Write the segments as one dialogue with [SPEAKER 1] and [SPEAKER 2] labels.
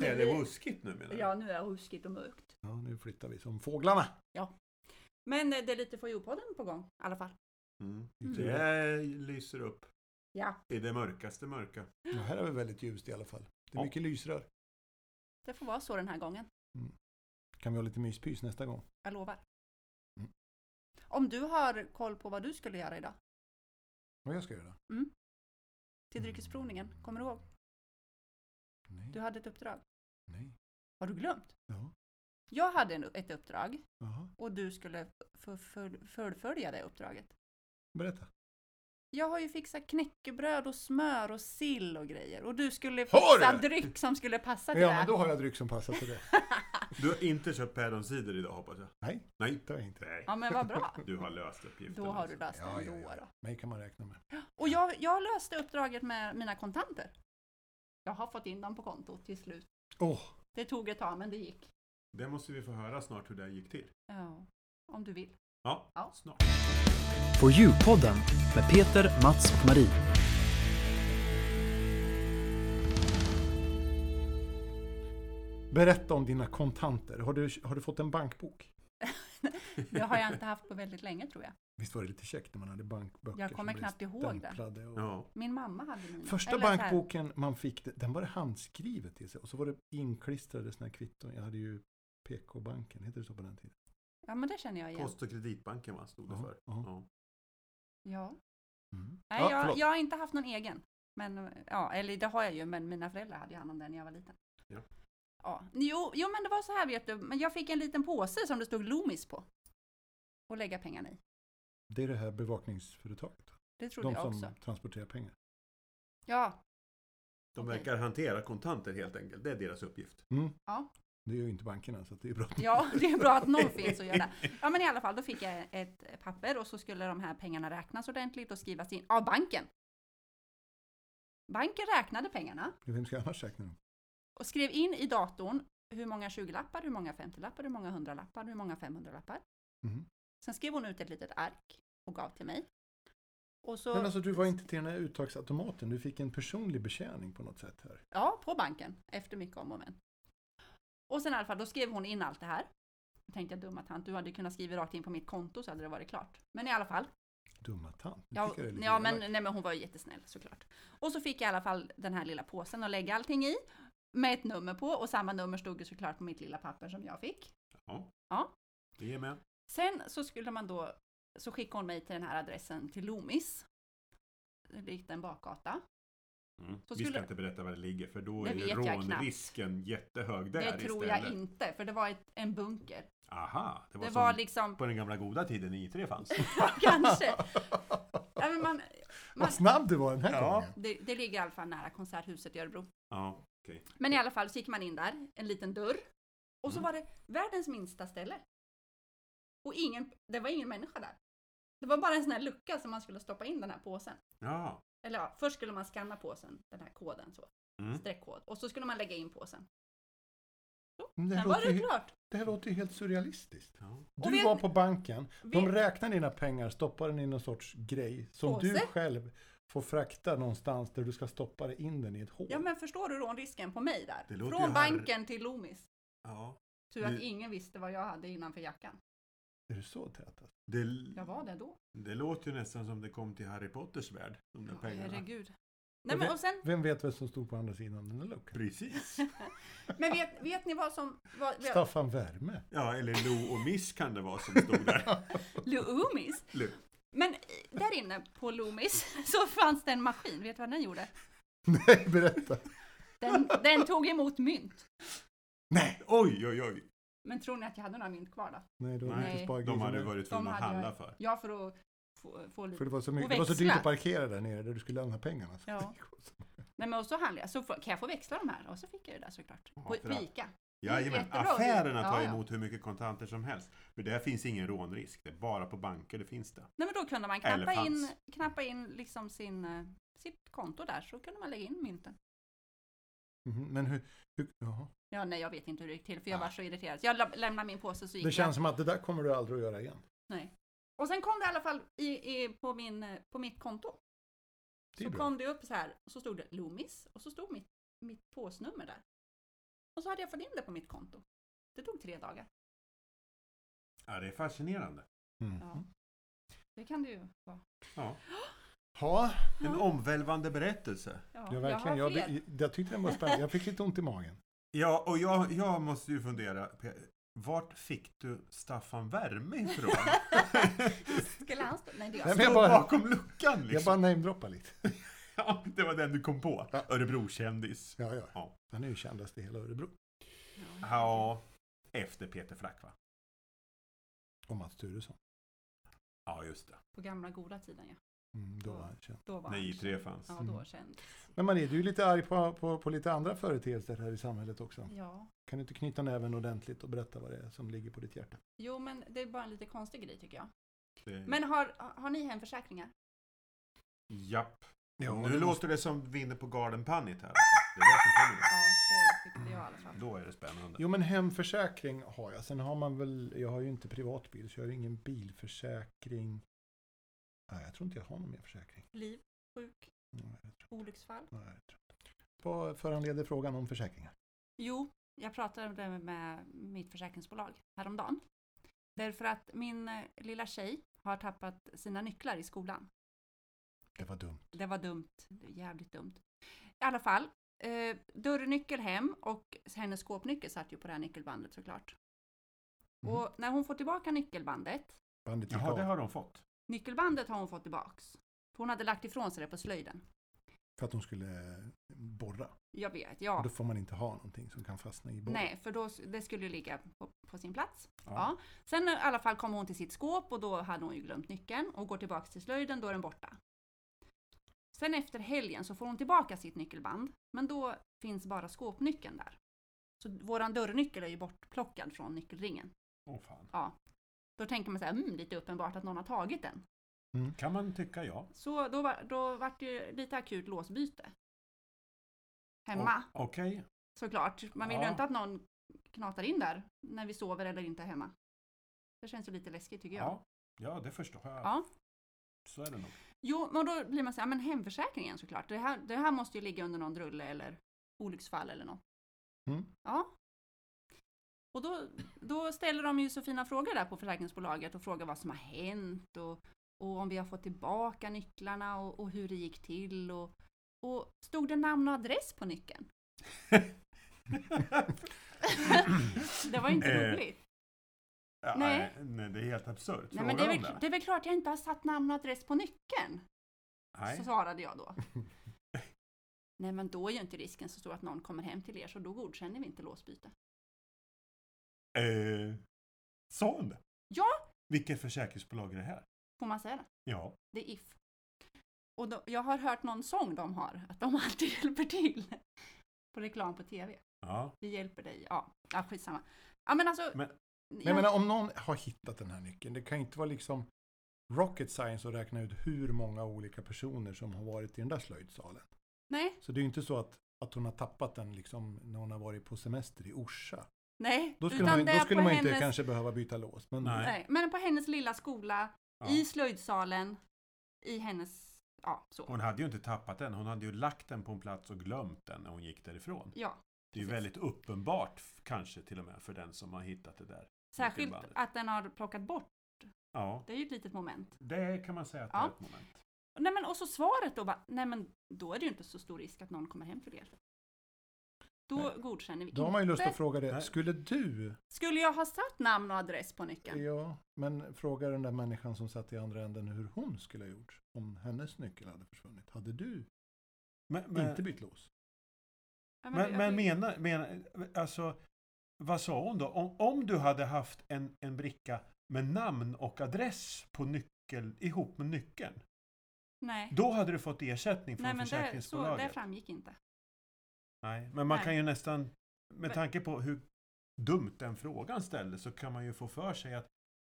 [SPEAKER 1] ruskigt nu menar du?
[SPEAKER 2] Ja, nu är det ruskigt och mörkt.
[SPEAKER 1] ja, nu flyttar vi som fåglarna.
[SPEAKER 2] Men eh, det är lite Fojo-podden på gång i alla fall.
[SPEAKER 1] Mm.
[SPEAKER 2] Mm.
[SPEAKER 1] Det lyser upp
[SPEAKER 2] Ja,
[SPEAKER 1] i det mörkaste mörka.
[SPEAKER 3] Det här är väl väldigt ljust i alla fall. Det är
[SPEAKER 1] Ja.
[SPEAKER 3] mycket lysrör.
[SPEAKER 2] det får vara så den här gången.
[SPEAKER 3] Kan vi ha lite myspys nästa gång?
[SPEAKER 2] Jag lovar.
[SPEAKER 3] Mm.
[SPEAKER 2] Om du har koll på vad du skulle göra idag
[SPEAKER 3] Vad jag ska göra?
[SPEAKER 2] till dryckesprovningen, kommer du ihåg?
[SPEAKER 3] Nej.
[SPEAKER 2] Du hade ett uppdrag.
[SPEAKER 3] Nej.
[SPEAKER 2] Har du glömt?
[SPEAKER 3] Ja.
[SPEAKER 2] Jag hade en, ett uppdrag
[SPEAKER 3] Jaha.
[SPEAKER 2] och du skulle f- f- fullfölja det uppdraget.
[SPEAKER 3] Berätta.
[SPEAKER 2] Jag har ju fixat knäckebröd och smör och sill och grejer. Och du skulle
[SPEAKER 1] Har
[SPEAKER 2] fixa
[SPEAKER 1] du?
[SPEAKER 2] dryck som skulle passa till
[SPEAKER 3] Ja,
[SPEAKER 2] det.
[SPEAKER 3] men då har jag dryck som passar till det.
[SPEAKER 1] Du har inte köpt päronsider idag hoppas jag?
[SPEAKER 3] Nej.
[SPEAKER 1] Nej.
[SPEAKER 3] Det har jag inte.
[SPEAKER 1] Nej.
[SPEAKER 2] Ja, men vad bra.
[SPEAKER 1] Du har löst uppgiften.
[SPEAKER 2] Då har
[SPEAKER 1] alltså.
[SPEAKER 2] du löst det
[SPEAKER 3] Ja, ja,
[SPEAKER 2] ändå.
[SPEAKER 3] ja.
[SPEAKER 2] Då.
[SPEAKER 3] Mig kan man räkna med.
[SPEAKER 2] Och jag, jag löste uppdraget med mina kontanter. Jag har fått in dem på kontot till slut.
[SPEAKER 3] Åh,
[SPEAKER 2] Det tog ett tag, men det gick.
[SPEAKER 1] Det måste vi få höra snart hur det här gick till.
[SPEAKER 2] Ja, om du vill.
[SPEAKER 1] Ja,
[SPEAKER 2] Ja.
[SPEAKER 1] snart.
[SPEAKER 4] På Djurpodden med Peter, Mats och Marie.
[SPEAKER 3] berätta om dina kontanter. Har du, har du fått en bankbok?
[SPEAKER 2] Det har jag inte haft på väldigt länge tror jag.
[SPEAKER 3] Visst var det lite käckt när man hade bankböcker?
[SPEAKER 2] Jag
[SPEAKER 3] som
[SPEAKER 2] kommer
[SPEAKER 3] blev
[SPEAKER 2] knappt ihåg det.
[SPEAKER 3] stämplade och...
[SPEAKER 1] Ja.
[SPEAKER 2] Min mamma hade mina.
[SPEAKER 3] Första
[SPEAKER 2] Eller så här,
[SPEAKER 3] bankboken man fick, den var det handskrivet i sig. Och så var det inklistrade sådana här kvitton. Jag hade ju PK-banken, heter det så på den tiden?
[SPEAKER 2] Ja, men det känner jag igen.
[SPEAKER 1] Post och kreditbanken va, stod det
[SPEAKER 3] Ja,
[SPEAKER 1] för.
[SPEAKER 3] ja.
[SPEAKER 1] Ja.
[SPEAKER 2] Ja.
[SPEAKER 3] Mm.
[SPEAKER 2] Nej,
[SPEAKER 3] Ja,
[SPEAKER 2] jag,
[SPEAKER 3] förlåt.
[SPEAKER 2] jag har inte haft någon egen. Men, ja, eller det har jag ju, men mina föräldrar hade ju hand om den när jag var liten.
[SPEAKER 1] Ja.
[SPEAKER 2] Ja. Jo, jo, men det var så här vet du, men jag fick en liten påse som det stod Loomis på. Och lägga pengarna i.
[SPEAKER 3] Det är det här bevakningsföretaget.
[SPEAKER 2] Det trodde
[SPEAKER 3] De
[SPEAKER 2] jag
[SPEAKER 3] som
[SPEAKER 2] också.
[SPEAKER 3] transporterar pengar.
[SPEAKER 2] Ja,
[SPEAKER 1] De
[SPEAKER 2] Okej.
[SPEAKER 1] verkar hantera kontanter helt enkelt. Det är deras uppgift.
[SPEAKER 3] Mm.
[SPEAKER 2] Ja.
[SPEAKER 3] Det gör ju inte bankerna, så att det är bra.
[SPEAKER 2] ja, det är bra att någon finns att göra. Ja, men i alla fall, då fick jag ett papper och så skulle de här pengarna räknas ordentligt och skrivas in av banken. Banken räknade pengarna
[SPEAKER 3] Vem ska annars räkna dem?
[SPEAKER 2] och skrev in i datorn hur många 20-lappar, hur många 50-lappar, hur många 100-lappar, hur många 500-lappar.
[SPEAKER 3] Mhm.
[SPEAKER 2] Sen skrev hon ut ett litet ark och gav till mig. Och så,
[SPEAKER 3] Men alltså, du var inte till den här uttagsautomaten. Du fick en personlig betjäning på något sätt här.
[SPEAKER 2] ja, på banken, efter mycket om och men. Och sen i alla fall, då skrev hon in allt det här. Då tänkte jag, dumma tant, du hade kunnat skriva rakt in på mitt konto så hade det varit klart. Men i alla fall,
[SPEAKER 3] Dumma tant. Nu
[SPEAKER 2] ja,
[SPEAKER 3] tycker jag det är lite
[SPEAKER 2] ja men,
[SPEAKER 3] elakt.
[SPEAKER 2] nej, men hon var ju jättesnäll såklart. Och så fick jag i alla fall den här lilla påsen att lägga allting i. Med ett nummer på och samma nummer stod ju såklart på mitt lilla papper som jag fick.
[SPEAKER 1] Ja. Mm.
[SPEAKER 2] Ja.
[SPEAKER 1] Vi är med.
[SPEAKER 2] Sen så skulle man då, så skickade hon mig till den här adressen till Loomis. Det gick en bakgata.
[SPEAKER 1] Mm.
[SPEAKER 2] Så
[SPEAKER 1] Vi
[SPEAKER 2] skulle-
[SPEAKER 1] ska inte berätta var det ligger för då
[SPEAKER 2] Det
[SPEAKER 1] är ju
[SPEAKER 2] vet jag
[SPEAKER 1] rånrisken jättehög där
[SPEAKER 2] det tror
[SPEAKER 1] istället.
[SPEAKER 2] jag inte, för det var ett, en bunker.
[SPEAKER 1] Aha, det
[SPEAKER 2] Det
[SPEAKER 1] var,
[SPEAKER 2] var,
[SPEAKER 1] som
[SPEAKER 2] liksom,
[SPEAKER 1] på den gamla goda tiden I3 fanns.
[SPEAKER 2] kanske. Ja, men man, man,
[SPEAKER 3] Vad snabb du var den här
[SPEAKER 1] Ja.
[SPEAKER 3] gången.
[SPEAKER 2] det, det ligger i alla fall nära Konserthuset i Örebro.
[SPEAKER 1] Ja, okej.
[SPEAKER 2] Men i alla fall så gick man in där, en liten dörr. Och så
[SPEAKER 1] Mm.
[SPEAKER 2] var det världens minsta ställe. Och ingen, det var ingen människa där. Det var bara en sån här lucka som man skulle stoppa in den här påsen.
[SPEAKER 1] Ja.
[SPEAKER 2] Eller ja, först skulle man scanna påsen, den här koden så.
[SPEAKER 1] Mm.
[SPEAKER 2] streckkod och så skulle man lägga in påsen.
[SPEAKER 3] Men Det, här
[SPEAKER 2] Sen var
[SPEAKER 3] låter,
[SPEAKER 2] det
[SPEAKER 3] ju-
[SPEAKER 2] klart.
[SPEAKER 3] det här låter ju helt surrealistiskt.
[SPEAKER 1] ja.
[SPEAKER 3] Du
[SPEAKER 2] vet-
[SPEAKER 3] var på banken, de
[SPEAKER 2] Vet-
[SPEAKER 3] räknar dina pengar, stoppar den i någon sorts grej som du
[SPEAKER 2] Påse.
[SPEAKER 3] själv får frakta någonstans där du ska stoppa det in den i ett hål.
[SPEAKER 2] Ja men förstår du rånrisken på mig där?
[SPEAKER 1] Det låter ju
[SPEAKER 2] Från
[SPEAKER 1] här-
[SPEAKER 2] banken till Loomis.
[SPEAKER 1] ja.
[SPEAKER 2] Tur att
[SPEAKER 1] Det-
[SPEAKER 2] ingen visste vad jag hade innanför jackan.
[SPEAKER 3] Är det så tät? alltså?
[SPEAKER 1] Det,
[SPEAKER 2] Jag var det då.
[SPEAKER 1] det låter ju nästan som det kom till Harry Potters värld. De där
[SPEAKER 2] Ja,
[SPEAKER 1] pengarna.
[SPEAKER 2] herregud.
[SPEAKER 3] Jag
[SPEAKER 2] Nej, men, och sen,
[SPEAKER 3] Vem vet vem som stod på andra sidan den där luckan?
[SPEAKER 1] Precis.
[SPEAKER 2] men vet, vet ni vad som... Vad, vad,
[SPEAKER 3] Staffan Värme.
[SPEAKER 1] Ja, eller Lo och Miss kan det vara som stod där.
[SPEAKER 2] Loomis?
[SPEAKER 1] Lo-
[SPEAKER 2] Men i- där inne på Loomis så fanns det en maskin. Vet du vad den gjorde?
[SPEAKER 3] Nej, berätta.
[SPEAKER 2] Den, den tog emot mynt.
[SPEAKER 1] Nej, oj, oj, oj.
[SPEAKER 2] Men tror ni att jag hade några mynt kvar då?
[SPEAKER 3] Nej, då
[SPEAKER 1] Nej,
[SPEAKER 3] Nej. inte spargrisen
[SPEAKER 1] De hade
[SPEAKER 3] där.
[SPEAKER 1] varit tvungna att
[SPEAKER 2] hade jag-
[SPEAKER 1] handla för.
[SPEAKER 2] Ja, för att få, få lite...
[SPEAKER 3] För det var, så
[SPEAKER 2] Och
[SPEAKER 3] mycket, det var så dyrt
[SPEAKER 2] växlar.
[SPEAKER 3] att parkera där nere där du skulle lämna pengarna. Så
[SPEAKER 2] Ja. Nej men och så handlade jag, så får- kan jag få växla de här? Och så fick jag ju det där såklart.
[SPEAKER 1] Ja,
[SPEAKER 2] På,
[SPEAKER 1] för
[SPEAKER 2] på
[SPEAKER 1] att-
[SPEAKER 2] ICA.
[SPEAKER 1] Jajamän,
[SPEAKER 2] Jättebra.
[SPEAKER 1] affärerna tar
[SPEAKER 2] Ja, ja.
[SPEAKER 1] emot hur mycket kontanter som helst. För där finns ingen rånrisk. Det är bara på banker det finns det.
[SPEAKER 2] Nej men då kunde man
[SPEAKER 1] Eller
[SPEAKER 2] knappa in,
[SPEAKER 1] fanns.
[SPEAKER 2] knappa in liksom sin, eh, sitt konto där, så kunde man lägga in mynten.
[SPEAKER 3] Mhm, Men hur... hur jaha.
[SPEAKER 2] Ja nej jag vet inte hur det gick till, för jag
[SPEAKER 3] Nej.
[SPEAKER 2] var så irriterad. Så Jag la- lämnade min påse så gick
[SPEAKER 3] Det känns som att det där kommer du aldrig att göra igen.
[SPEAKER 2] jag. Nej. Och sen kom det i alla fall i, i, på, min, eh, på mitt konto.
[SPEAKER 3] Det är
[SPEAKER 2] Så
[SPEAKER 3] bra.
[SPEAKER 2] kom det upp så här, och så stod det Loomis, och så stod mitt, mitt påsnummer där. Och så hade jag fått in det på mitt konto. Det tog tre dagar.
[SPEAKER 1] Ja, det är fascinerande.
[SPEAKER 3] Mm.
[SPEAKER 2] Ja. Det kan det ju vara.
[SPEAKER 1] Ja.
[SPEAKER 3] Ha,
[SPEAKER 1] En
[SPEAKER 2] Ja.
[SPEAKER 1] omvälvande berättelse.
[SPEAKER 2] Ja,
[SPEAKER 3] ja, verkligen.
[SPEAKER 2] Jag har
[SPEAKER 3] Jag,
[SPEAKER 2] fler.
[SPEAKER 3] jag, jag tyckte den var spännande. Jag fick lite ont i magen.
[SPEAKER 1] Ja, och jag, jag måste ju fundera. Pe- Vart fick du Staffan Värme ifrån?
[SPEAKER 2] Skulle han stå? Nej, det är
[SPEAKER 3] Nej,
[SPEAKER 2] jag.
[SPEAKER 1] Jag
[SPEAKER 3] men jag
[SPEAKER 1] står
[SPEAKER 3] bara-
[SPEAKER 1] bakom luckan
[SPEAKER 3] Jag
[SPEAKER 1] liksom.
[SPEAKER 3] bara namedroppar lite.
[SPEAKER 1] ja, det var den du kom på.
[SPEAKER 3] Ja.
[SPEAKER 1] Örebrokändis.
[SPEAKER 3] Ja, ja.
[SPEAKER 1] Ja.
[SPEAKER 3] Han är ju kändast i hela Örebro.
[SPEAKER 1] Ja, efter Peter Flack va?
[SPEAKER 3] Och Mats Turesson.
[SPEAKER 1] Ja, just det.
[SPEAKER 2] På gamla goda tiden, ja.
[SPEAKER 3] Mm, då var han känd.
[SPEAKER 2] Då var
[SPEAKER 1] När
[SPEAKER 2] han
[SPEAKER 1] I3 fanns.
[SPEAKER 2] Ja, då
[SPEAKER 3] Mm.
[SPEAKER 2] kändes det.
[SPEAKER 3] Men Marie, du är lite arg på, på, på lite andra företeelser här i samhället också.
[SPEAKER 2] Ja.
[SPEAKER 3] Kan du inte knyta näven ordentligt och berätta vad det är som ligger på ditt hjärta?
[SPEAKER 2] Jo, men det är bara en lite konstig grej tycker
[SPEAKER 3] Mm.
[SPEAKER 2] jag.
[SPEAKER 1] Det-
[SPEAKER 2] Men har, har ni hemförsäkringar?
[SPEAKER 1] Japp.
[SPEAKER 3] Ja,
[SPEAKER 1] nu
[SPEAKER 3] det
[SPEAKER 1] låter
[SPEAKER 3] måste-
[SPEAKER 1] det som vinner på Garden Punnit här. alltså. Det är det som kommer.
[SPEAKER 2] Ja, det tyckte jag i alla fall.
[SPEAKER 1] Då är det spännande.
[SPEAKER 3] Jo, men hemförsäkring har jag. Sen har man väl, jag har ju inte privatbil, så jag har ju ingen bilförsäkring. Nej, jag tror inte jag har någon mer försäkring.
[SPEAKER 2] Liv, sjuk,
[SPEAKER 3] Nej, jag tror,
[SPEAKER 2] olycksfall.
[SPEAKER 3] nej, jag tror inte. Vad föranleder frågan om försäkringar?
[SPEAKER 2] Jo, jag pratade om det med mitt försäkringsbolag häromdagen. Därför att min eh, lilla tjej har tappat sina nycklar i skolan.
[SPEAKER 3] Det var dumt.
[SPEAKER 2] Det var dumt. Det var jävligt dumt. I alla fall, eh, dörrnyckel hem och hennes skåpnyckel satt ju på det här nyckelbandet såklart.
[SPEAKER 3] Mhm.
[SPEAKER 2] Och när hon får tillbaka nyckelbandet,
[SPEAKER 3] Bandet gick
[SPEAKER 1] Jaha,
[SPEAKER 3] av
[SPEAKER 1] det har de fått.
[SPEAKER 2] nyckelbandet har hon fått tillbaks. Hon hade lagt ifrån sig det på slöjden.
[SPEAKER 3] för att de skulle borra.
[SPEAKER 2] Jag vet,
[SPEAKER 3] Och
[SPEAKER 2] ja.
[SPEAKER 3] då får man inte ha någonting som kan fastna i borren.
[SPEAKER 2] Nej, för då, s- det skulle ju ligga på, på sin plats.
[SPEAKER 1] Ja.
[SPEAKER 2] Ja. Sen i alla fall kom hon till sitt skåp och då hade hon ju glömt nyckeln och går tillbaks till slöjden, då är den borta. Sen efter helgen så får hon tillbaka sitt nyckelband, men då finns bara skåpnyckeln där. Så våran dörrnyckel är ju bortplockad från nyckelringen.
[SPEAKER 1] Åh fan.
[SPEAKER 2] Då tänker man så här, mm, lite uppenbart att någon har tagit den.
[SPEAKER 1] Kan man tycka ja.
[SPEAKER 2] Så då, var, då vart det ju lite akut låsbyte. Hemma,
[SPEAKER 1] O- Okej.
[SPEAKER 2] såklart. Man vill
[SPEAKER 1] Ja.
[SPEAKER 2] ju inte att någon knatar in där när vi sover eller inte är hemma. Det känns ju lite läskigt tycker jag.
[SPEAKER 1] Ja. ja, det förstår jag.
[SPEAKER 2] Ja.
[SPEAKER 1] Så är det nog.
[SPEAKER 2] Jo, men då blir man så här, men hemförsäkringen såklart. Det här, det här måste ju ligga under någon drulle eller olycksfall eller något.
[SPEAKER 3] Mm.
[SPEAKER 2] Ja. Och då, då ställer de ju så fina frågor där på försäkringsbolaget och frågar vad som har hänt och, och om vi har fått tillbaka nycklarna och, och hur det gick till. Och, och stod det namn och adress på nyckeln? Det var inte
[SPEAKER 1] Eh,
[SPEAKER 2] roligt.
[SPEAKER 1] Ja,
[SPEAKER 2] Nej.
[SPEAKER 1] nej. nej, det är helt absurt.
[SPEAKER 2] Nej, men det,
[SPEAKER 1] Frågar
[SPEAKER 2] är
[SPEAKER 1] de
[SPEAKER 2] väl, det är väl klart jag inte har satt namn och adress på nyckeln,
[SPEAKER 1] Nej.
[SPEAKER 2] så svarade jag då. Nej, men då är ju inte risken så stor att någon kommer hem till er, så då godkänner vi inte låsbyte.
[SPEAKER 1] Eh, sa hon det?
[SPEAKER 2] Ja!
[SPEAKER 1] Vilket försäkringsbolag är det här?
[SPEAKER 2] Får man säga det?
[SPEAKER 1] Ja.
[SPEAKER 2] Det är If. Och då, jag har hört någon sång de har, att de alltid hjälper till. På reklam på TV.
[SPEAKER 1] ja.
[SPEAKER 2] Vi hjälper dig. Ja, ja skitsamma. Ja, men alltså...
[SPEAKER 1] Men-
[SPEAKER 3] Men jag
[SPEAKER 2] jag-
[SPEAKER 3] menar, om någon har hittat den här nyckeln, det kan ju inte vara liksom rocket science att räkna ut hur många olika personer som har varit i den där slöjdsalen.
[SPEAKER 2] nej,
[SPEAKER 3] Så det är ju inte så att, att hon har tappat den liksom när hon har varit på semester i Orsa.
[SPEAKER 2] nej.
[SPEAKER 3] Då skulle
[SPEAKER 2] utan
[SPEAKER 3] man, ju-
[SPEAKER 2] det
[SPEAKER 3] då
[SPEAKER 2] är
[SPEAKER 3] skulle
[SPEAKER 2] på
[SPEAKER 3] man ju inte
[SPEAKER 2] hennes,
[SPEAKER 3] kanske behöva byta lås. Men
[SPEAKER 1] Nej.
[SPEAKER 2] Nej, men på hennes lilla skola,
[SPEAKER 1] ja.
[SPEAKER 2] i slöjdsalen, i hennes... Ja, så.
[SPEAKER 1] Hon hade ju inte tappat den. Hon hade ju lagt den på en plats och glömt den när hon gick därifrån.
[SPEAKER 2] Ja,
[SPEAKER 1] Det är ju
[SPEAKER 2] precis.
[SPEAKER 1] väldigt uppenbart f- kanske till och med för den som har hittat det där.
[SPEAKER 2] särskilt
[SPEAKER 1] Nyckelbandet.
[SPEAKER 2] att den har plockat bort.
[SPEAKER 1] Ja,
[SPEAKER 2] Det är ju ett litet moment.
[SPEAKER 1] det kan man säga att det
[SPEAKER 2] Ja.
[SPEAKER 1] är ett moment.
[SPEAKER 2] Nej, men och så svaret då bara, nej men då är det ju inte så stor risk att någon kommer hem till er. Då
[SPEAKER 3] Nej.
[SPEAKER 2] godkänner vi
[SPEAKER 3] då har man ju lust
[SPEAKER 2] inte.
[SPEAKER 3] att fråga det.
[SPEAKER 1] Nej.
[SPEAKER 3] Skulle du,
[SPEAKER 2] Skulle jag ha satt namn och adress på nyckeln?
[SPEAKER 3] ja, men fråga den där människan som satt i andra änden hur hon skulle ha gjort om hennes nyckel hade försvunnit. Hade du
[SPEAKER 1] Men, men,
[SPEAKER 3] inte bytt lås?
[SPEAKER 2] Ja,
[SPEAKER 1] men,
[SPEAKER 2] jag-
[SPEAKER 1] men menar, menar, alltså, vad sa hon då? Om, om du hade haft en, en bricka med namn och adress på nyckel, ihop med nyckeln,
[SPEAKER 2] nej,
[SPEAKER 1] då hade du fått ersättning från
[SPEAKER 2] nej men det, så, det
[SPEAKER 1] försäkringsbolaget.
[SPEAKER 2] framgick inte.
[SPEAKER 1] Nej, men man
[SPEAKER 2] Nej.
[SPEAKER 1] kan ju nästan, med
[SPEAKER 2] Men-
[SPEAKER 1] tanke på hur dumt den frågan ställdes, så kan man ju få för sig att